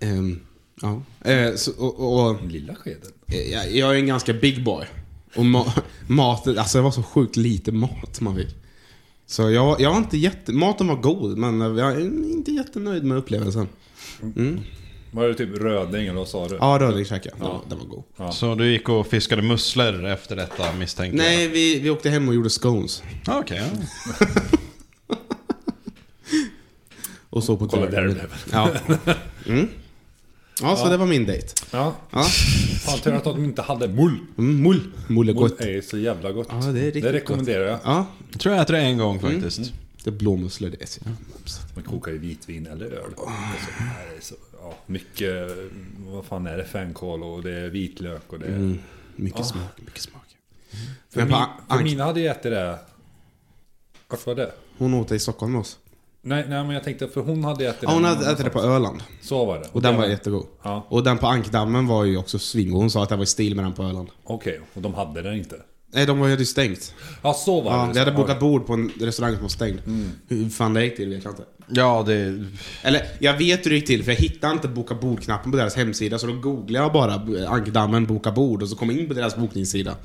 Ehm, ja. Eh, så, och, och,
Den lilla skeden.
eh, jag, jag är en ganska big boy. Och ma- maten, alltså det var så sjukt lite mat man fick. Så jag, jag var inte jätte... Maten var god, men jag är inte jättenöjd med upplevelsen.
Var det typ röding eller vad sa du?
Ja, röding käkade jag. Den var- Den var god.
Ja.
Så du gick och fiskade musslor efter detta misstänker
Nej, vi, vi åkte hem och gjorde scones.
jag? Ah, Okej. ja.
Och så på
Kolla
Daredevil.
Daredevil.
Ja. Mm. ja, så det var min dejt.
Ja.
Ja.
Fan tur att de inte hade mull.
Mm, mull. Mull är
Mull
gott.
är ju så jävla gott.
Ja, det är riktigt
det rekommenderar jag.
Ja,
Jag tror jag äter det en gång faktiskt.
det är blåmusslor. Det är så jävla mumsigt.
Man kokar ju vitvin eller öl. Alltså, det är så, ja, mycket, vad fan är det, fänkål och det är vitlök och det är...
Mm. Mycket smak. Mycket smak.
Mm. För,
Men
min,
på
för
Ank-
mina hade ju ätit det... Vart var det?
Hon åt det i Stockholm med oss.
Nej, nej, men jag tänkte för hon hade ätit det.
Ja, hon
någon
hade ätit det på Öland.
annanstans. Så var det.
Och den var jättegod.
Ja.
Och den på Ankdammen var ju också svingod. Hon sa att det var i stil med den på Öland.
Okej, och de hade den inte.
Nej, de var ju stängt.
Ja, så var Mm.
Ja,
det.
vi hade bokat bord på en restaurang som var stängd. Hur fan det gick till vet jag inte.
Ja, det...
Eller jag vet hur det gick till för jag hittade inte boka bord-knappen på deras hemsida så då googlade jag bara Ankdammen boka bord och så kom jag in på deras bokningssida.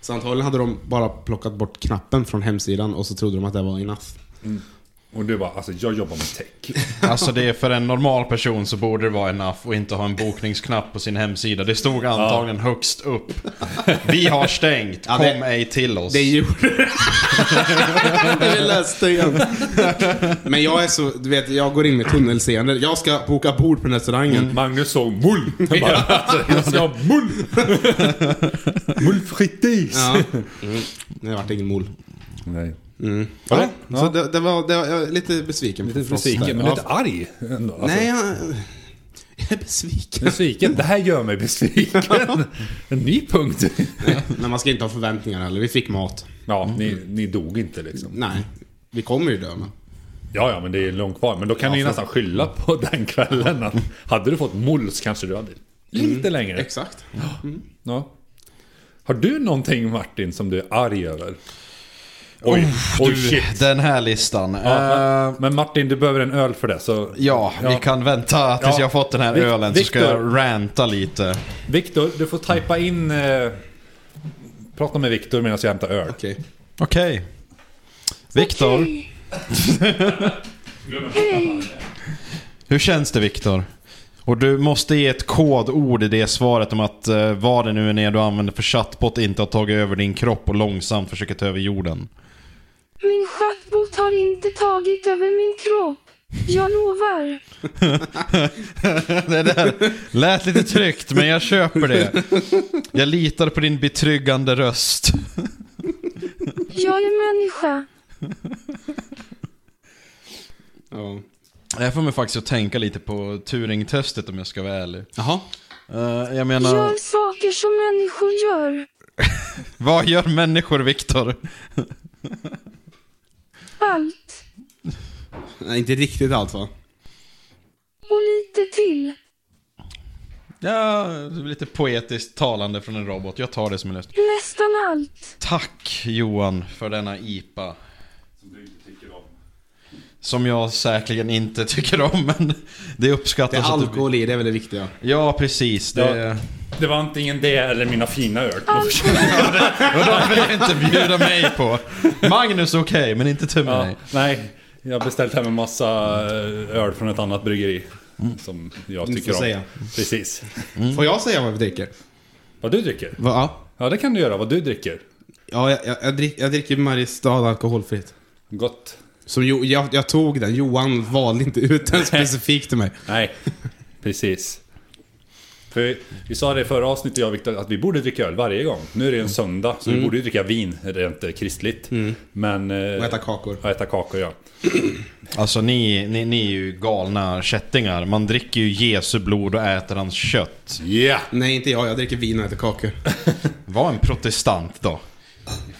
Så antagligen hade de bara plockat bort knappen från hemsidan och så trodde de att det var enough.
Och du bara, alltså jag jobbar med tech.
Alltså det är för en normal person så borde det vara enough och inte ha en bokningsknapp på sin hemsida. Det stod antagligen högst upp. Vi har stängt,
Ja,
kom
det-
ej till oss.
Det gjorde det. Vi läste igen. Men jag är så, du vet, jag går in med tunnelseende. Jag ska boka bord på den restaurangen.
Magnus såg mull. Jag bara, alltså, jag ska ha mull. Mullfrittis.
Ja. Mm. Det vart ingen mol.
Nej.
Mm.
Va?
Ja,
Ja.
Så det, det var, det var, jag är lite besviken
Lite
på Frost
besviken,
där.
men
Ja.
lite arg ändå. Alltså,
Nej, jag, jag är besviken.
Besviken? Det här gör mig besviken. En ny punkt.
Men man ska inte ha förväntningar heller. Vi fick mat.
Ja, ni, ni dog inte liksom.
Nej, vi kommer ju dö men.
Ja, ja, men det är långt kvar. Men då kan ni ju nästan skylla på den kvällen. Att hade du fått mull så kanske du hade lite längre.
Exakt.
Ja. Har du någonting Martin som du är arg över? Oj, oj
Du,
shit.
den här listan.
Ja,
Eh,
men- men Martin, du behöver en öl för det. Så
Ja, vi kan vänta tills
Ja.
jag har fått den här
Vic-
ölen så ska
Victor.
jag ranta lite.
Viktor, du får typa in... Eh, prata med Viktor medan jag hämtar öl.
Okej.
Okej. Viktor,
Hej. Hej.
hur känns det Viktor? Och du måste ge ett kodord i det svaret om att eh, vad det nu än är du använder för chatbot inte har tagit över din kropp och långsamt försöker ta över jorden.
Min chatbot har inte tagit över min kropp. Jag lovar.
Det där lät lite tryggt men jag köper det. Jag litar på din betryggande röst.
Jag är människa.
Ja.
Det här får mig faktiskt att tänka lite på Turing-testet om jag ska vara ärlig.
Jaha.
Eh, jag menar,
Gör saker som människor gör.
vad gör människor Viktor?
Allt.
Nej, inte riktigt allt va?
Och lite till.
Ja, det är lite poetiskt talande från en robot. Jag tar det som en lösning.
Nästan allt.
Tack Johan för denna IPA. Som jag säkerligen inte tycker om, men det
Det
uppskattas
är
att
alkohol i, det är väl det viktiga.
du... Ja, precis. Det...
Det var antingen det eller mina fina öl.
Allt.
Och de vill jag inte bjuda mig på. Magnus okej, men inte till
Ja,
mig.
nej, jag har beställt hem en massa eh, öl från ett annat bryggeri. Som jag
Mm. Inte
tycker
får
om.
säga.
Precis.
Får jag säga vad vi dricker?
Vad du dricker?
Mm. Va?
Ja, det kan du göra. Vad du dricker.
Ja, jag, jag, jag, drick, jag dricker Mariestad alkoholfritt.
Gott.
Som jo, jag, jag tog den, Johan valde inte ut den specifikt till mig.
Nej, precis. För vi, vi sa det i förra avsnittet, jag och Viktor, att vi borde dricka öl varje gång. Nu är
Mm.
det en söndag, så vi borde ju dricka vin rent eh, kristligt. Men... eh,
Och äta kakor.
Och äta kakor, ja.
Alltså ni, ni, ni är ju galna kättingar. Man dricker ju Jesu blod och äter hans kött.
Yeah!
Nej, inte jag. Jag dricker vin och äter kakor.
Var en protestant då.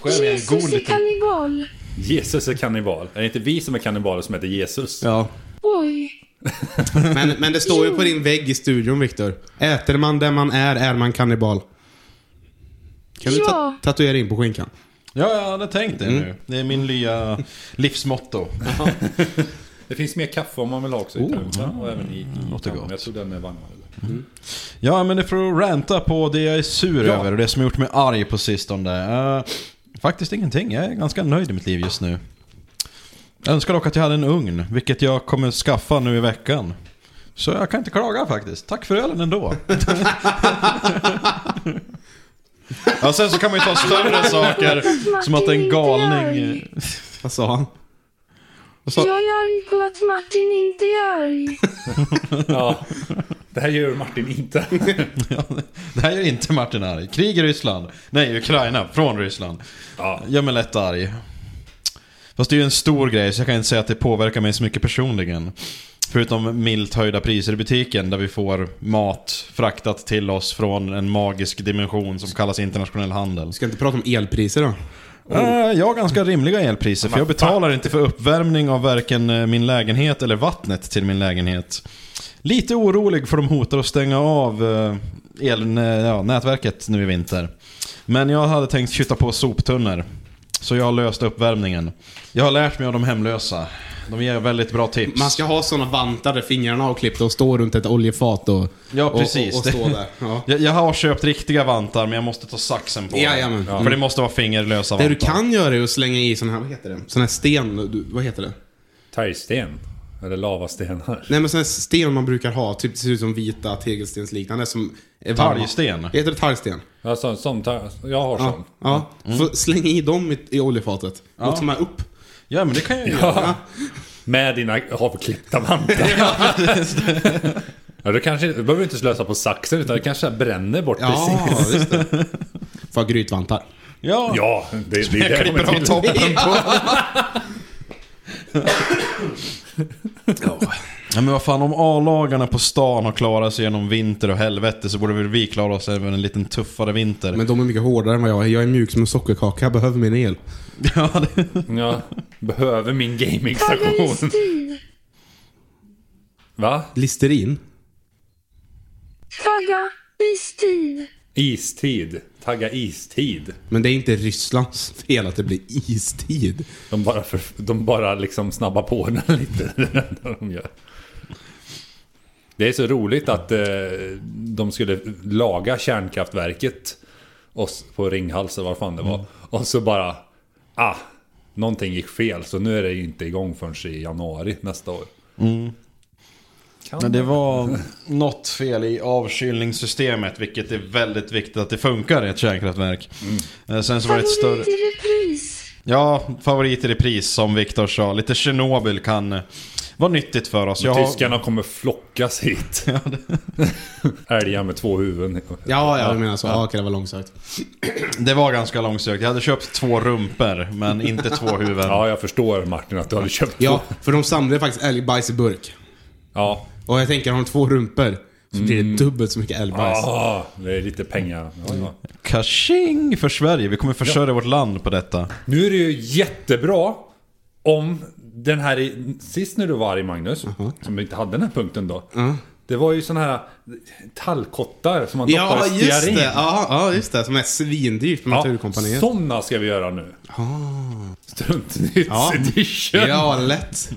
Jesus är kannibal.
Jesus är kannibal. Är det inte vi som är kannibaler som heter Jesus?
Ja.
Oj.
Men, men det står ju på din vägg i studion, Viktor. Äter man det man är, är man kannibal. Kan du ta-
Ja.
tatuera in på skinkan?
Ja, jag hade tänkt det nu. Det är min nya livsmotto.
Det finns mer kaffe om man vill ha också i
Oh,
termosen och även i, i
låter
kammaren.
gott.
Jag tror den är varmare.
Ja, men det är för att ranta på det jag är sur
Ja.
över och det som gjort mig arg på sistone. Eh, faktiskt ingenting. Jag är ganska nöjd i mitt liv just nu. Jag önskar dock att jag hade en ugn, vilket jag kommer skaffa nu i veckan. Så jag kan inte klaga faktiskt. Tack för ölen ändå. ja, sen så kan man ju ta större saker. Som att en galning...
Vad sa han? Vad sa
Jag är arg på att Martin inte är arg.
Ja, det här gör Martin inte.
Det här gör inte Martin arg. Krig i Ryssland. Nej, Ukraina. Från Ryssland.
Ja.
Gör mig lätt arg. Fast det är ju en stor grej så jag kan inte säga att det påverkar mig så mycket personligen. Förutom milt höjda priser i butiken där vi får mat fraktat till oss från en magisk dimension som kallas internationell handel.
Ska inte prata om elpriser då?
Äh, jag har ganska rimliga elpriser för jag betalar inte för uppvärmning av varken eh, min lägenhet eller vattnet till min lägenhet. Lite orolig för de hotar att stänga av eh, el, ja, nätverket nu i vinter. Men jag hade tänkt kytta på soptunnor. Så jag har löst uppvärmningen. Jag har lärt mig av de hemlösa. De ger väldigt bra tips.
Man ska ha sådana vantar där fingrarna har klippt och stå runt ett oljefat och,
Ja,
och,
precis.
och, och stå där. Ja.
Jag, jag har köpt riktiga vantar men jag måste ta saxen på
Jajamän.
För det måste vara fingerlösa
Det
vantar.
du kan göra är att slänga i sån här, vad heter det? Sån här sten, du, vad heter det?
Tärgsten. Eller lavastenar.
Nej men sån här sten man brukar ha, typ det ser ut som vita tegelstensliknande som... är varma.
Talgsten.
Heter det talgsten?
Ja, sån, sån tar- jag har sån.
Ja. ja.
Mm.
Så släng i dem i, i oljefatet. Och ta med upp.
Ja men det kan jag ju göra.
Ja. Med dina avklippta vantar. Ja, du, kanske, du behöver inte slösa på saxen utan du kanske bränner bort
Ja,
precis.
just det. För grytvantar.
Ja,
Ja, det, det är det jag
klipper
kommer
av
till.
toppen på. Ja, men vad fan, om A-lagarna på stan har klarat sig genom vinter och helvete så borde väl vi klara oss även en liten tuffare vinter.
Men de är mycket hårdare än vad jag är. Jag är mjuk som en sockerkaka. Jag behöver min el.
Ja, det...
Ja, behöver min gamingstation.
Taggarlistin.
Va?
Listerin.
Tagga. Istid.
Istid. Tagga istid.
Men det är inte Rysslands fel att det blir istid.
De bara, för, de bara liksom snabbar på den lite. det är det enda de gör. Det är så roligt att eh, de skulle laga kärnkraftverket oss på Ringhals eller vad fan det var.
Mm.
Och så bara, ah, någonting gick fel så nu är det inte igång förrän i januari nästa år. Kan
Men det var något fel i avkylningssystemet, vilket är väldigt viktigt att det funkar i ett kärnkraftverk. Eh, Sen så var det ett större...
Favorit i repris.
Ja, favorit i repris som Viktor sa. Lite Tjernobyl kan eh, vara nyttigt för oss. Jag har-
Tyskarna kommer flockas hit. Älgar med två huvuden.
Ja, ja, jag menar så. Ja, okej, det var långsökt.
Det var ganska långsökt. Jag hade köpt två rumpor, men inte två huvuden.
Ja, jag förstår Martin att du hade köpt
Ja,
två.
för de samlade faktiskt älgbajs i burk.
Ja.
Och jag tänker, har de två rumpor så blir
Mm.
det dubbelt så mycket älgbajs.
Ah, det är lite pengar. Ja, ja.
Kaching för Sverige. Vi kommer försörja vårt land på detta.
Nu är det ju jättebra om den här... i- Sist när du var arg Magnus,
Mhm.
som inte hade den här punkten då.
Mm.
Det var ju sådana här tallkottar som man
Ja,
doppar i
just
stearin.
det. Ja, ja, just det. Som är svindyrt på Naturkompaniet. Ah.
sådana ska vi göra nu. Struntnytt
Ja.
edition.
Ja, lätt.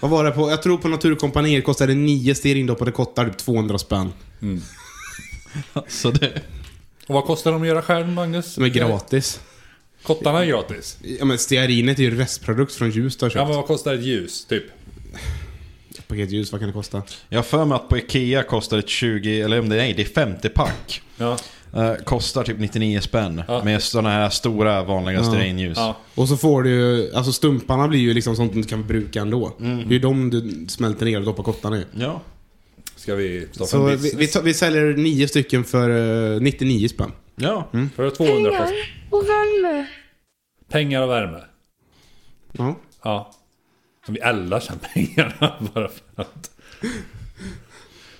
Vad var det på? Jag tror på Naturkompaniet kostade nio stearindoppade kottar typ 200 spänn.
Så det...
Och vad kostar de att göra själv Magnus? Eh,
Som är gratis.
Kottarna är gratis.
Ja, men stearinet är ju restprodukt från ljus du har
Ja,
köpt.
men vad kostar ett ljus typ?
Ett paket ljus, vad kan det kosta?
Jag har för mig att på Ikea kostar ett 20, eller om det nej, det är 50 pack.
Ja.
Eh, kostar typ 99 spänn.
Ja.
Med sådana här stora vanliga stearinljus.
ja.
Och så får du ju, alltså stumparna blir ju liksom sånt du inte kan bruka ändå. Det är ju de du smälter ner och doppar kottarna i.
Ja.
Ska vi starta
Så
en
vi, vi,
business?
tar- vi säljer nio stycken för eh, 99 spänn.
Ja.
Mm.
För 200
Pengar
fast.
och värme.
Pengar och värme.
Ja.
Ja. Som vi eldar sen pengarna bara för att...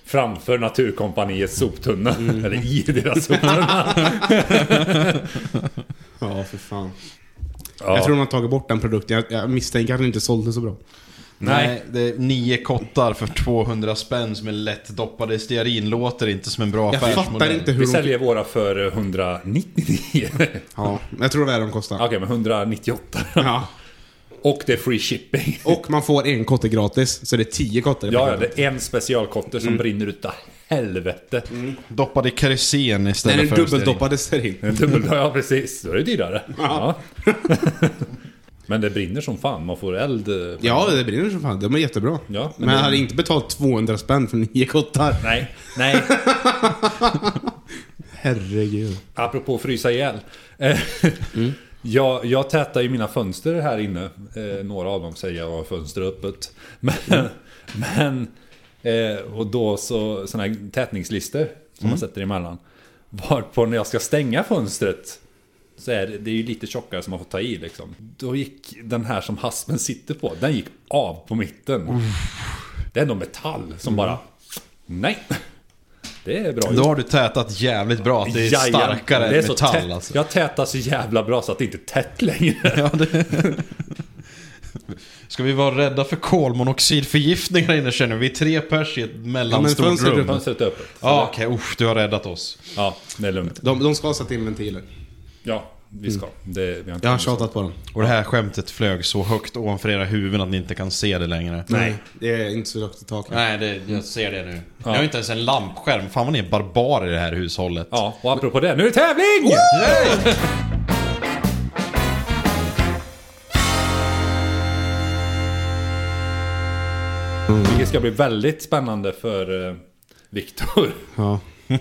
Framför Naturkompaniets soptunna. Eller i deras soptunna.
Ja, för fan.
Ja.
Jag tror de har tagit bort den produkten. Jag, jag misstänker att den inte sålde så bra.
Nej.
Nej.
det är nio kottar för 200 spänn som är lätt doppade i stearin. Låter inte som en bra
Jag fattar inte hur
Vi
de...
säljer våra för 199. Okej,
Ja, jag tror det är de kostar.
men 198.
Ja.
Och det är free shipping.
Och man får en kotte gratis, så det är tio kottar. i
Ja, ja,
paketet.
det är en specialkotte som brinner utav helvete.
Doppade i kerosen
Den
istället
är
för
dubbeldoppade stearin.
En dubbel, ja precis, då är det dyrare. Ja. Men det brinner som fan, man får eld. eh,
Ja, det brinner som fan. De är jättebra.
Ja, men
men jag
det-
hade inte betalt 200 spänn för nio kottar.
Nej, nej.
Herregud.
Apropå frysa ihjäl. Eh, jag, jag tätar ju mina fönster här inne. Eh, några av dem säger jag har fönster öppet. Men, men eh, och då så sådana här tätningslister som man sätter emellan. Varpå när jag ska stänga fönstret så är det, det är ju lite tjockare som man får ta i liksom. Då gick den här som haspen sitter på, den gick av på mitten. Det är nog metall som bara... Nej! Det är bra
Då har du tätat jävligt bra att det är
Jajamän.
starkare
Det är
än
så
metall
tätt.
alltså.
Jag tätar så jävla bra så att det inte är tätt längre.
Ja, det... Ska vi vara rädda för kolmonoxidförgiftning här inne känner vi? Vi är tre pers i ett mellanstort
fönstret
rum.
öppet.
Fönstret är öppet.
Ja, okej. Usch, du har räddat oss.
Ja, det är lugnt.
De, de ska sätta in ventiler.
Ja, vi ska. Det, vi har inte
Jag har tjatat på dem.
Och det här skämtet flög så högt ovanför era huvuden att ni inte kan se det längre.
Nej. Det är inte så högt i taket.
Nej, det, jag ser det nu. Jag har inte ens en lampskärm. Fan vad ni är barbarer i det här hushållet.
Ja, och apropå det, nu är det tävling! Vilket ska bli väldigt spännande för eh, Viktor.
Ja.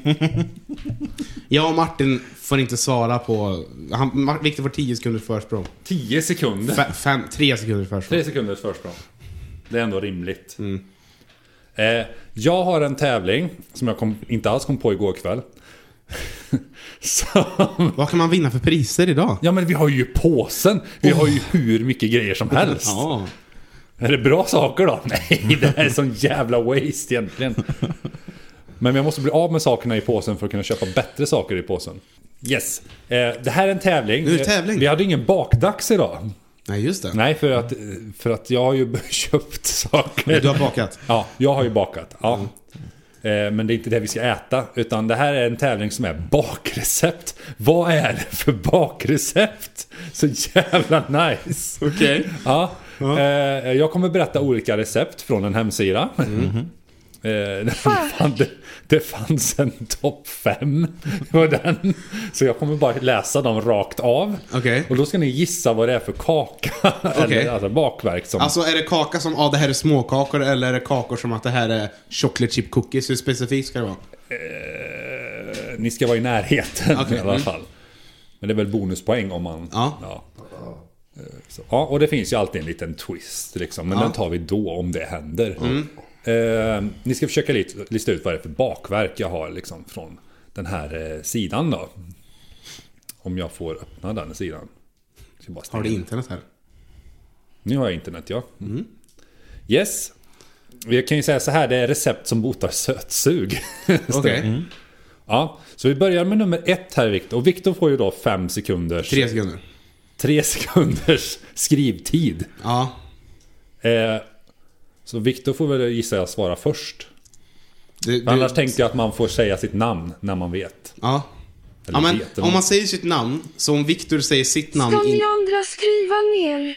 jag och Martin får inte svara på... Han, Mar- Victor får 10 sekunders försprång.
10 sekunder.
Fe- Fem, tre sekunders försprång.
Tre sekunders försprång. Det är ändå rimligt.
Mm.
Eh, jag har en tävling som jag kom, inte alls kom på igår kväll. Som...
Vad kan man vinna för priser idag?
Ja men vi har ju påsen. Vi har ju hur mycket grejer som helst.
Oh. Ja.
Är det bra saker då? Nej, det här är sån jävla waste egentligen. Men jag måste bli av med sakerna i påsen för att kunna köpa bättre saker i påsen. Yes. Eh, det här är en tävling.
Nu är det tävling.
Vi hade ingen bakdags idag.
Nej, just det.
Nej, för att, för att jag har ju köpt saker.
Du har bakat.
Ja, jag har ju bakat. Ja. Eh, Men det är inte det vi ska äta, utan det här är en tävling som är bakrecept. Vad är det för bakrecept? Så jävla nice!
Okej.
Ja. Eh, jag kommer berätta olika recept från en hemsida. Eh, fan, det, det fanns en topp 5 på den. Så jag kommer bara läsa dem rakt av.
Okej.
Och då ska ni gissa vad det är för kaka.
Okej.
Eller alltså bakverk som...
Alltså är det kaka som ah, det här är småkakor eller är det kakor som att det här är chocolate chip cookies? Hur specifikt ska det vara?
Eh, ni ska vara i närheten
Okej,
i alla
mm.
fall. Men det är väl bonuspoäng om man...
Ja.
Eh, Så, ja, och det finns ju alltid en liten twist liksom. Men den tar vi då om det händer.
Mm.
Eh, ni ska försöka lit- lista ut vad det är för bakverk jag har liksom från den här eh, sidan då. Om jag får öppna den sidan. Ska bara stänga
Har du
den.
internet här?
Nu har jag internet ja.
Mm.
Yes. Jag kan ju säga så här, det är recept som botar sötsug.
Okej.
Ja, så vi börjar med nummer ett här Viktor. Och Viktor får ju då fem sekunders...
Tre sekunder.
tre sekunders skrivtid.
Ja.
Eh, så Viktor får väl gissa jag svara först.
Du, du,
Annars tänkte jag att man får säga sitt namn när man vet.
Ja.
Eller
ja men,
vet
om man säger sitt namn, så om Viktor säger sitt namn...
Ska ni
In,
andra skriva ner?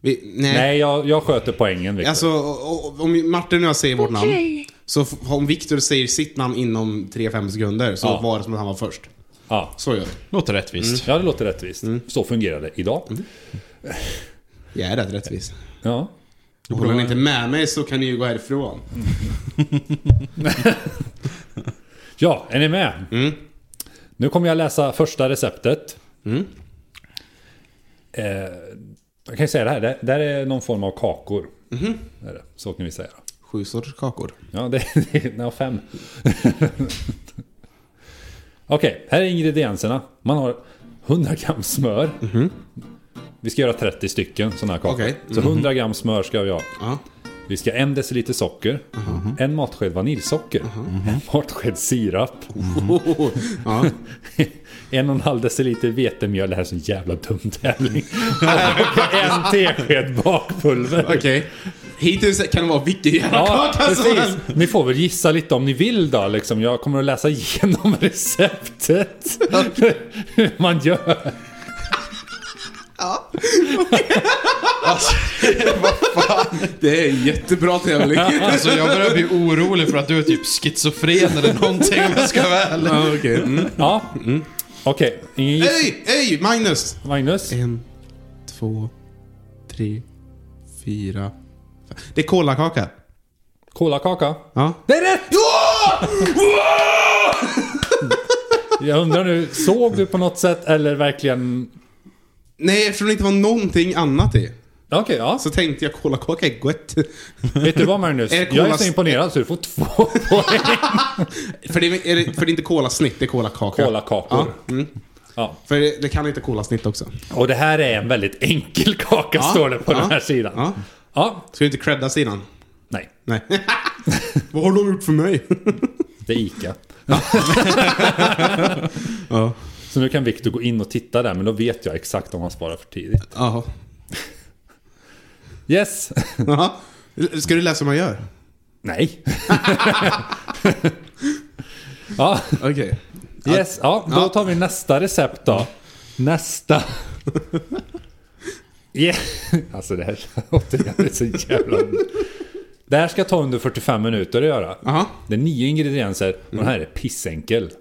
vi, nej.
Nej, jag, jag sköter poängen Viktor.
Alltså, o- o- om Martin och jag säger vårt namn.
Okej.
Så f- om Viktor säger sitt namn inom 3-5 sekunder så
Ja.
var det som att han var först.
Ja.
Så gör vi.
Låter rättvist.
ja, det låter rättvist.
Mm.
Så fungerar det idag.
Jag är rätt rättvis.
Ja.
Och Håller ni inte med mig så kan ni ju gå härifrån.
Ja, är ni med? Nu kommer jag läsa första receptet. Eh, jag kan ju säga det här, det, det här är någon form av kakor. Det är det. Så kan vi säga.
Sju sorters kakor.
Ja, det, det är no, fem. Okej, här är ingredienserna. Man har 100 gram smör. Vi ska göra 30 stycken sådana här kakor.
Okej.
Så 100 gram smör ska vi ha.
Ja.
Vi ska ha en deciliter socker,
Mhm.
en matsked vaniljsocker, en matsked sirap,
Mhm. ja.
en och en halv deciliter vetemjöl. Det här är en sån jävla dum tävling. Och en tesked bakpulver.
Okej. alltså. Hittills kan det vara vilken jävla
Ja,
kaka som
precis.
helst.
Ni får väl gissa lite om ni vill då. Liksom. Jag kommer att läsa igenom receptet. Hur man gör.
Det är en jättebra tävling.
Alltså jag börjar bli orolig för att du är typ schizofren eller någonting om jag ska vara ärlig.
ja, okej. Mm.
Ja. Okej, ingen giss.
Öj, öj, Magnus!
Magnus?
En, två, tre, fyra. fem. Det är kolakaka.
Kolakaka?
Ja.
Det är rätt! Jag undrar nu, såg du på något sätt eller verkligen...
Nej, eftersom det inte var någonting annat i.
Okej, ja.
Så tänkte jag kolakaka är gött.
Vet du vad Magnus?
Är det
Jag är
kola-
så imponerad så du får två poäng.
för, det är, är det, för det är inte kolasnitt, det är kolakaka.
Kolakakor.
Ja. Mm.
Ja.
För det, det kan inte kolasnitt också.
Och det här är en väldigt enkel kaka står det på
ja,
den här sidan.
ja.
ja.
Ska vi inte credda sidan?
Nej,
Nej. Vad har de gjort för mig?
det är ICA.
Ja.
Så nu kan Victor gå in och titta där, men då vet jag exakt om han sparar för tidigt.
Jaha.
Yes!
Jaha. Ska du läsa hur man gör?
Nej! ja,
Okej.
yes. Ja, då tar vi nästa recept då. Nästa. Yeah. Alltså det här återigen det är så jävla... Det här ska ta under 45 minuter att göra.
Jaha.
Det är nio ingredienser och den här är pissenkel.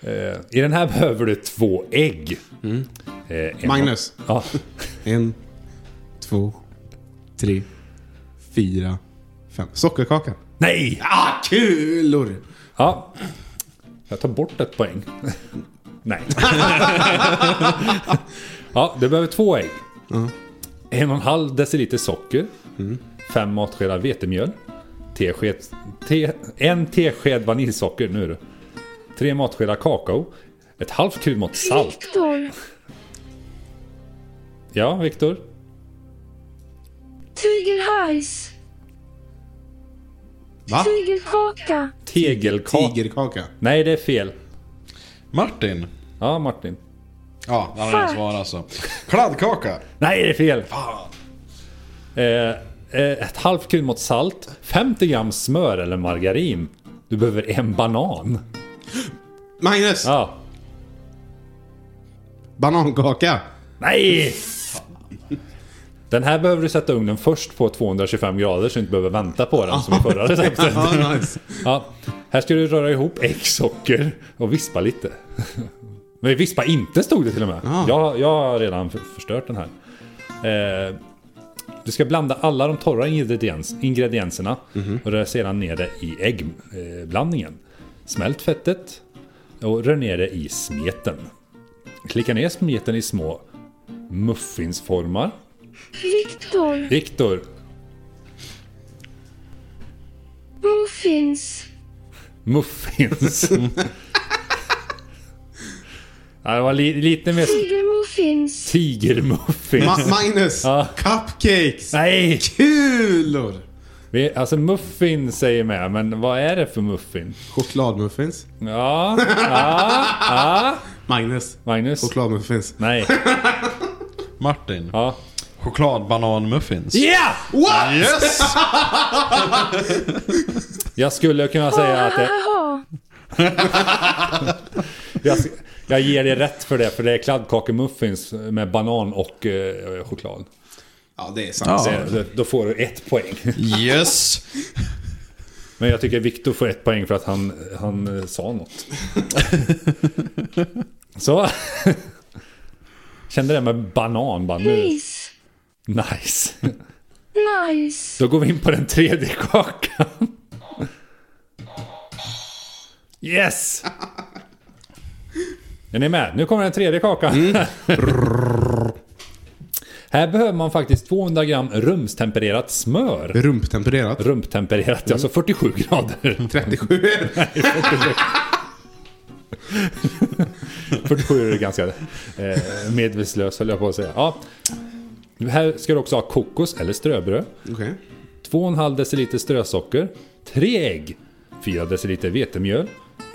Eh, I den här behöver du två ägg. Eh, en-
Magnus.
Ja,
En, två, tre, fyra, fem. Sockerkaka.
nej!
Ah, kulor!
Ja. Jag tar bort ett poäng. Nej. ja, du behöver två ägg. En och en halv deciliter socker. Fem matskedar vetemjöl. Tesked, te, en tesked vaniljsocker. Nu är det. tre matskedar kakao, ett halvt kryddmått salt.
Viktor.
Ja, Viktor?
Tigerhajs.
Va?
Tigerkaka.
Tegelkaka?
Tigerkaka.
Nej, det är fel.
Martin.
Ja, Martin.
Ja, han har redan
Fuck.
svarat alltså. Kladdkaka.
Nej, det är fel! Eh, eh, ett halvt kryddmått salt, 50 gram smör eller margarin. Du behöver en banan.
Magnus!
Ja.
Banankaka.
Nej! Den här behöver du sätta ugnen först på 225 grader så du inte behöver vänta på den som i förra receptet.
Ja, nice.
Ja, här ska du röra ihop ägg, socker och vispa lite. Men vispa inte stod det till och med.
Ah.
Jag, jag har redan för- förstört den här. Eh, du ska blanda alla de torra ingrediens, ingredienserna och rör sedan ner det i äggblandningen. Eh, blandningen. Smält fettet och rör ner det i smeten. Klicka ner smeten i små muffinsformar.
Viktor.
Viktor,
Muffins.
muffins. ja, det var li, lite mer
Tigermuffins.
Tigermuffins.
Ma- Magnus!
Ja.
Cupcakes!
Nej!
Kulor!
Vi, alltså muffin säger med, men vad är det för muffin?
Chokladmuffins.
Ja, ja, ja.
Magnus.
Magnus?
Chokladmuffins.
Nej.
Martin.
Ja.
Chokladbananmuffins.
Yeah!
What?
Yes!
Jag skulle kunna säga att det,
Ahaha.
jag, jag ger dig rätt för det, för det är kladdkakemuffins med banan och eh, choklad.
Ja, det är sant.
Ja.
Det, då får du ett poäng.
Yes!
Men jag tycker Viktor får ett poäng för att han, han eh, sa något. Så. Kände det med banan bara nu.
Nice.
Nice.
Nice.
Då går vi in på den tredje kakan. Yes! Är ni med? Nu kommer den tredje kakan. Här behöver man faktiskt 200 gram rumstempererat smör.
Rumptempererat.
Rumptempererat, alltså 47 grader.
37.
47 är ganska eh, medvetslös höll jag på att säga. Ja. Här ska du också ha kokos eller ströbröd.
Okej.
2,5 deciliter strösocker, 3 ägg, 4 deciliter vetemjöl,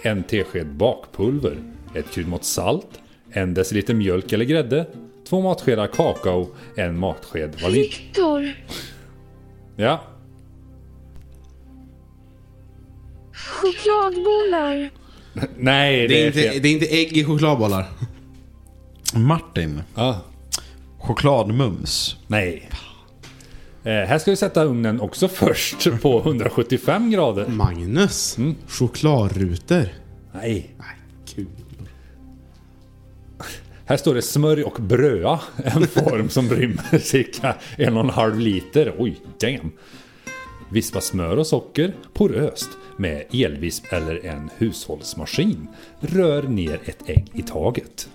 1 tesked bakpulver, ett kryddmått salt, 1 deciliter mjölk eller grädde, 2 matskedar kakao, 1 matsked vanilj.
Viktor.
Ja,
Chokladbollar.
Det,
nej det
är
är
inte-
fel.
det är inte ägg i chokladbollar.
Martin.
Ja,
Chokladmums.
nej. Eh, här ska vi sätta ugnen också först på 175 grader.
Magnus. Chokladrutor.
Nej.
Nej, kul.
Här står det smörj och bröa. En form som rymmer cirka en och en halv liter. Oj, damn. Vispa smör och socker poröst med elvisp eller en hushållsmaskin. Rör ner ett ägg i taget.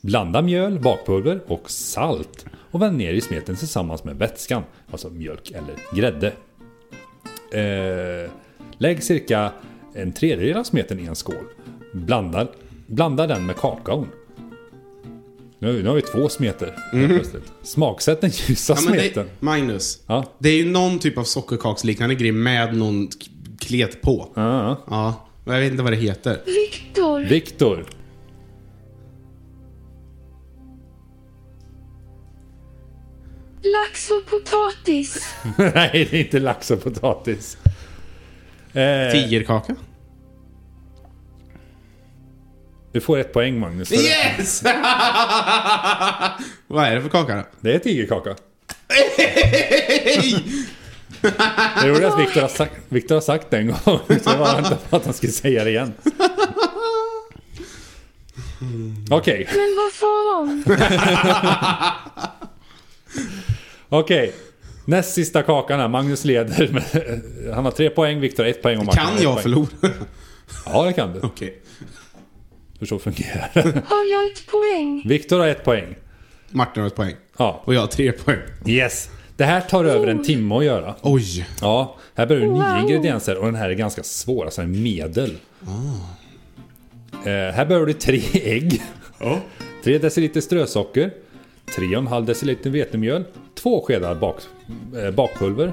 Blanda mjöl, bakpulver och salt och vänd ner i smeten tillsammans med vätskan, alltså mjölk eller grädde. Eh, lägg cirka en tredjedel av smeten i en skål. Blanda, blanda den med kakaon. Nu, nu har vi två smeter. helt plötsligt. Smaksätt den ljusa
Mm. Ja, men
smeten.
det, Magnus.
Ja.
Det är ju någon typ av sockerkaksliknande grej med någon k- klet på.
Ja, ja.
Ja. Men Jag vet inte vad det heter.
Viktor.
Viktor.
Lax och potatis.
Nej, det är inte lax och potatis. Eh,
Tigerkaka?
du får ett poäng Magnus. För det.
Yes! vad är det för kaka då?
det är tigerkaka.
Hej!
Det är roligt att Viktor har sagt, Viktor har sagt det en gång. Så jag bara väntade på att han skulle säga det igen. Okej,
Men vad fan?
okej. Näst sista kakan här. Magnus leder. Med, han har tre poäng, Viktor har ett poäng och Martin har
Kan
ett
jag
poäng.
förlora?
Ja, det kan du.
Okej.
Hur så fungerar det.
Har jag ett poäng?
Viktor har ett poäng.
Martin har ett poäng.
Ja.
Och jag har tre poäng.
Yes. Det här tar över en timme att göra.
Oj.
Ja, här behöver du nio
Wow.
ingredienser och den här är ganska svår, alltså en medel. Eh, här behöver du tre ägg.
Ja.
3 deciliter strösocker, 3,5 deciliter vetemjöl, 2 skedar bak, eh, bakpulver,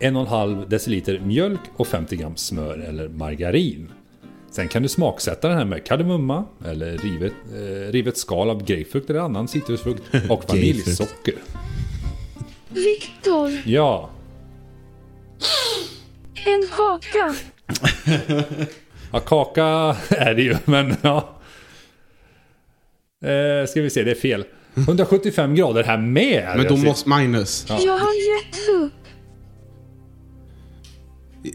1,5 deciliter mjölk och 50 gram smör eller margarin. Sen kan du smaksätta den här med kardemumma eller rivet, eh, rivet skal av grapefrukt eller annan citrusfrukt och vaniljsocker.
Viktor.
Ja,
En haka.
ja kaka är det ju men ja. Eh, ska vi se, det är fel. 175 grader här med!
Men då
Jag ser-
måste... Magnus.
Jag har gett upp.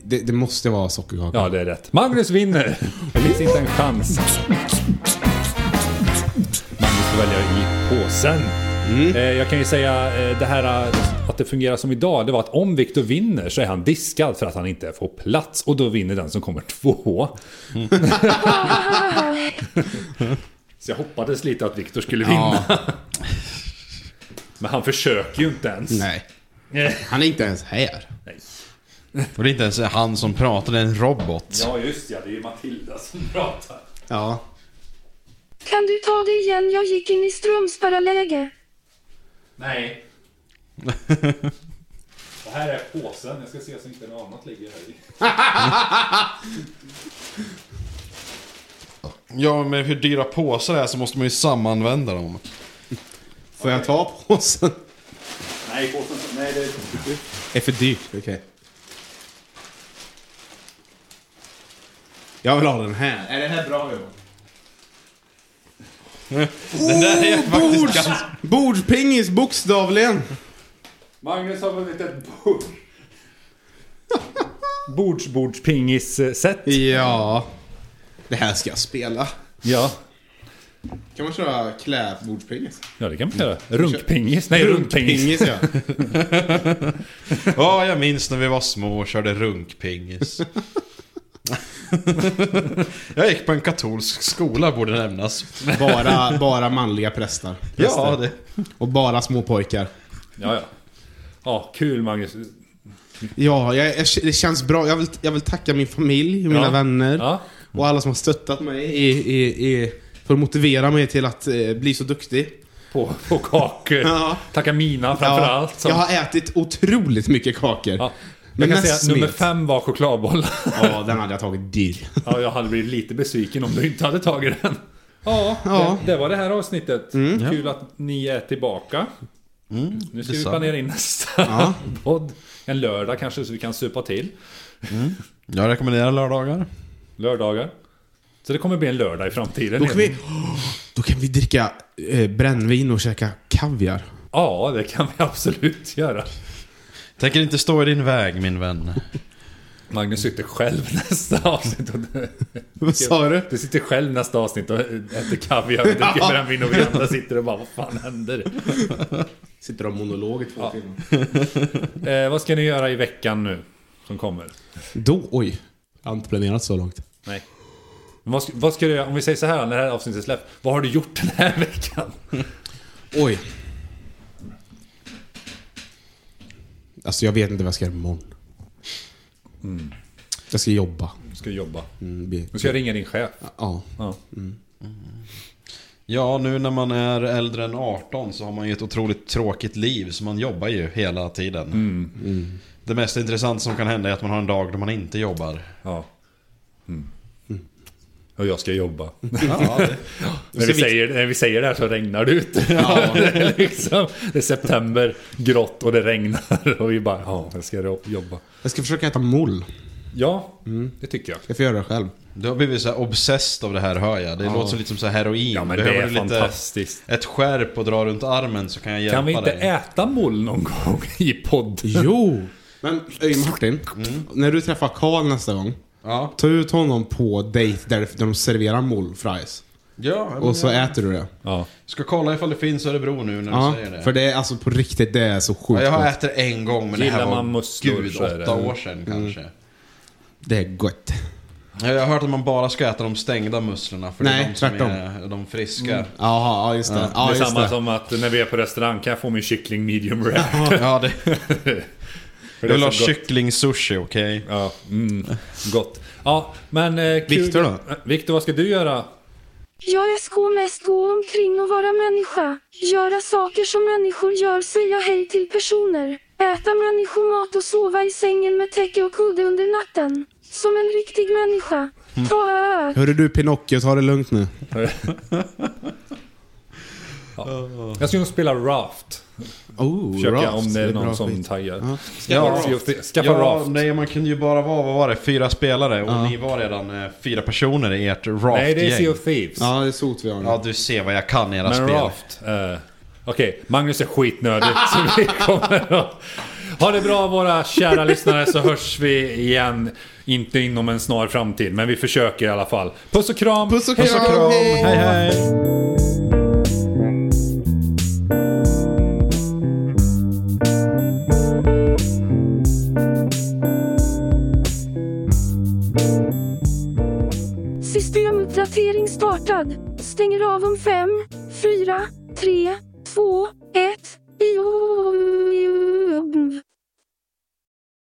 Det, det måste vara sockerkaka.
Ja, det är rätt. Magnus vinner! Det finns inte en chans. Magnus får välja i påsen. Eh, jag kan ju säga eh, det här eh, att det fungerar som idag. Det var att om Victor vinner så är han diskad för att han inte får plats. Och då vinner den som kommer två. så jag hoppades lite att Victor skulle vinna. Men han försöker ju inte ens.
Nej.
Nej.
Han är inte ens här.
Och det är inte ens han som pratar, det är en robot.
Ja, just ja. Det är ju Matilda som pratar.
Ja.
Kan du ta det igen? Jag gick in i Strömsparalläge.
Nej. Det här är påsen. Jag ska se så inte något annat ligger här i.
Ja, men hur dyra påsar det är så måste man ju samanvända dem.
Får jag ta påsen?
Nej, påsen... Nej, det...
Det är för dyrt. Okej. Jag vill ha den här. Är det här bra Johan?
Den där är faktiskt
Bords,
ganska...
bordspingis bokstavligen.
Magnus har vunnit ett bord. Bordsbordspingis-set.
Ja. Det här ska jag spela.
Ja.
Kan man köra kläbordspingis?
ja, det kan man göra. Runkpingis. Nej, runkpingis.
ja.
Ja, jag minns när vi var små och körde runkpingis. jag gick på en katolsk skola, borde nämnas.
Bara, bara manliga prästar.
Ja, det...
Och bara små pojkar.
Ja, ja. Ja, kul Magnus.
Ja, jag, jag, det känns bra. Jag vill, jag vill tacka min familj, och mina
Ja.
vänner
Ja.
och alla som har stöttat mig i, i, i, för att motivera mig till att eh, bli så duktig.
På, på kakor.
Ja.
Tacka Mina framförallt.
Jag har ätit otroligt mycket kakor.
Ja.
Men
Jag kan
mest
säga att nummer
smet.
fem var chokladbollar.
Ja, den hade jag tagit dyr.
Ja, jag hade blivit lite besviken om du inte hade tagit den. Ja,
Ja. Mm.
Det, det var det här avsnittet. Kul att ni är tillbaka. nu ska vi
detsamma.
planera in nästa
Ja.
podd. En lördag kanske så vi kan supa till.
Jag rekommenderar lördagar.
Lördagar. Så det kommer bli en lördag i framtiden.
Då kan vi, då kan vi dricka eh, brännvin och käka kaviar.
Ja, det kan vi absolut göra.
Tänker inte stå i din väg, min vän.
Magnus sitter själv nästa avsnitt. Och
Vad sa du?
du sitter själv nästa avsnitt och äter kaviar och dricker brännvin och vi andra sitter och bara vad fan händer?
Sitter och monolog i två timmar.
Eh, vad ska ni göra i veckan nu som kommer?
Då, oj. Jag har inte planerat så långt.
Nej. Men vad, ska, vad ska du göra, om vi säger så här när det här avsnittet släpps. Vad har du gjort den här veckan?
Oj. Alltså jag vet inte vad jag ska göra imorgon. Jag ska jobba.
Du ska jobba.
Mm, bli-
Nu ska jag ringa din chef.
Ja.
Ja.
Ja, nu när man är äldre än 18 så har man ju ett otroligt tråkigt liv, så man jobbar ju hela tiden.
Mm.
Mm. Det mest intressanta som kan hända är att man har en dag då man inte jobbar.
ja. Mm. Och jag ska jobba.
Ja, det...
när, vi säger, när vi säger det här så regnar det ut. det, är liksom, det är september, grått och det regnar. Och vi bara, ja, jag ska ro- jobba.
Jag ska försöka äta moll.
Ja, det tycker jag.
Jag får göra det själv.
Du har blivit så här obsessed av det här hör jag. Det låter så lite som så här heroin.
Ja, men det
Behöver
är
du lite
fantastiskt.
Ett skärp och dra runt armen så kan jag hjälpa
Kan vi inte
dig.
äta moll någon gång i podden?
Jo! Mm. Men öj, Martin, när du träffar Karl nästa gång.
Ja,
Ta ut honom på dejt där där de serverar moll fries.
ja men
Och så
jag
äter du det.
Ja.
ska kolla ifall det finns Örebro nu när
Ja,
du säger det.
för det är alltså på riktigt, det är så sjukt
ja, jag har
gott.
ätit en gång men det
Gillar
här var
man musslor
gud,
så är det-
åtta år
Mm.
sedan kanske.
Det är gott.
Ja, Jag har hört att man bara ska äta de stängda musslorna för
Nej,
det är de som
tvärtom.
är de friska.
Jaha, ja just det. Ja,
det är
just
samma
det.
som att när vi är på restaurang kan jag få min kyckling medium rare.
Ja, det...
För
Jag
Mm. det är så
vill ha
gott.
kyckling-sushi, okej?
Ja, mm, gott. Ja, men... Eh, kul-
Viktor då?
Eh, Viktor, vad ska du göra
Jag SK mest gå omkring och vara människa. Göra saker som människor gör, säga hej till personer. Äta människomat och sova i sängen med täcke och kudde under natten. Som en riktig människa. Ta ö.
Hörru du Pinocchio, ta det lugnt nu.
Jag ska nog spela Raft.
Oh,
Försöka
Raft,
om det är
bra
någon som
skit.
taggar.
Ja.
Skaffa
Ja.
Raft. Skaffa
ja,
Raft.
nej man kunde ju bara vara, vad var det, fyra spelare och
Ja.
ni var redan eh, fyra personer i ert raft
Nej, det är Sea of Thieves.
ja, det är sot vi har nu.
Ja, du ser vad jag kan i era
Men
spel.
Raft. eh, Okej, Magnus är skitnödig så vi kommer att... Ha det bra våra kära lyssnare så hörs vi igen. Inte inom en snar framtid, men vi försöker i alla fall. Puss och kram!
Puss och
Puss och
kram,
kram,
hej!
hej hej!
Systemuppdatering startad. Stänger av om 5, 4, 3, 2, 1. Jo.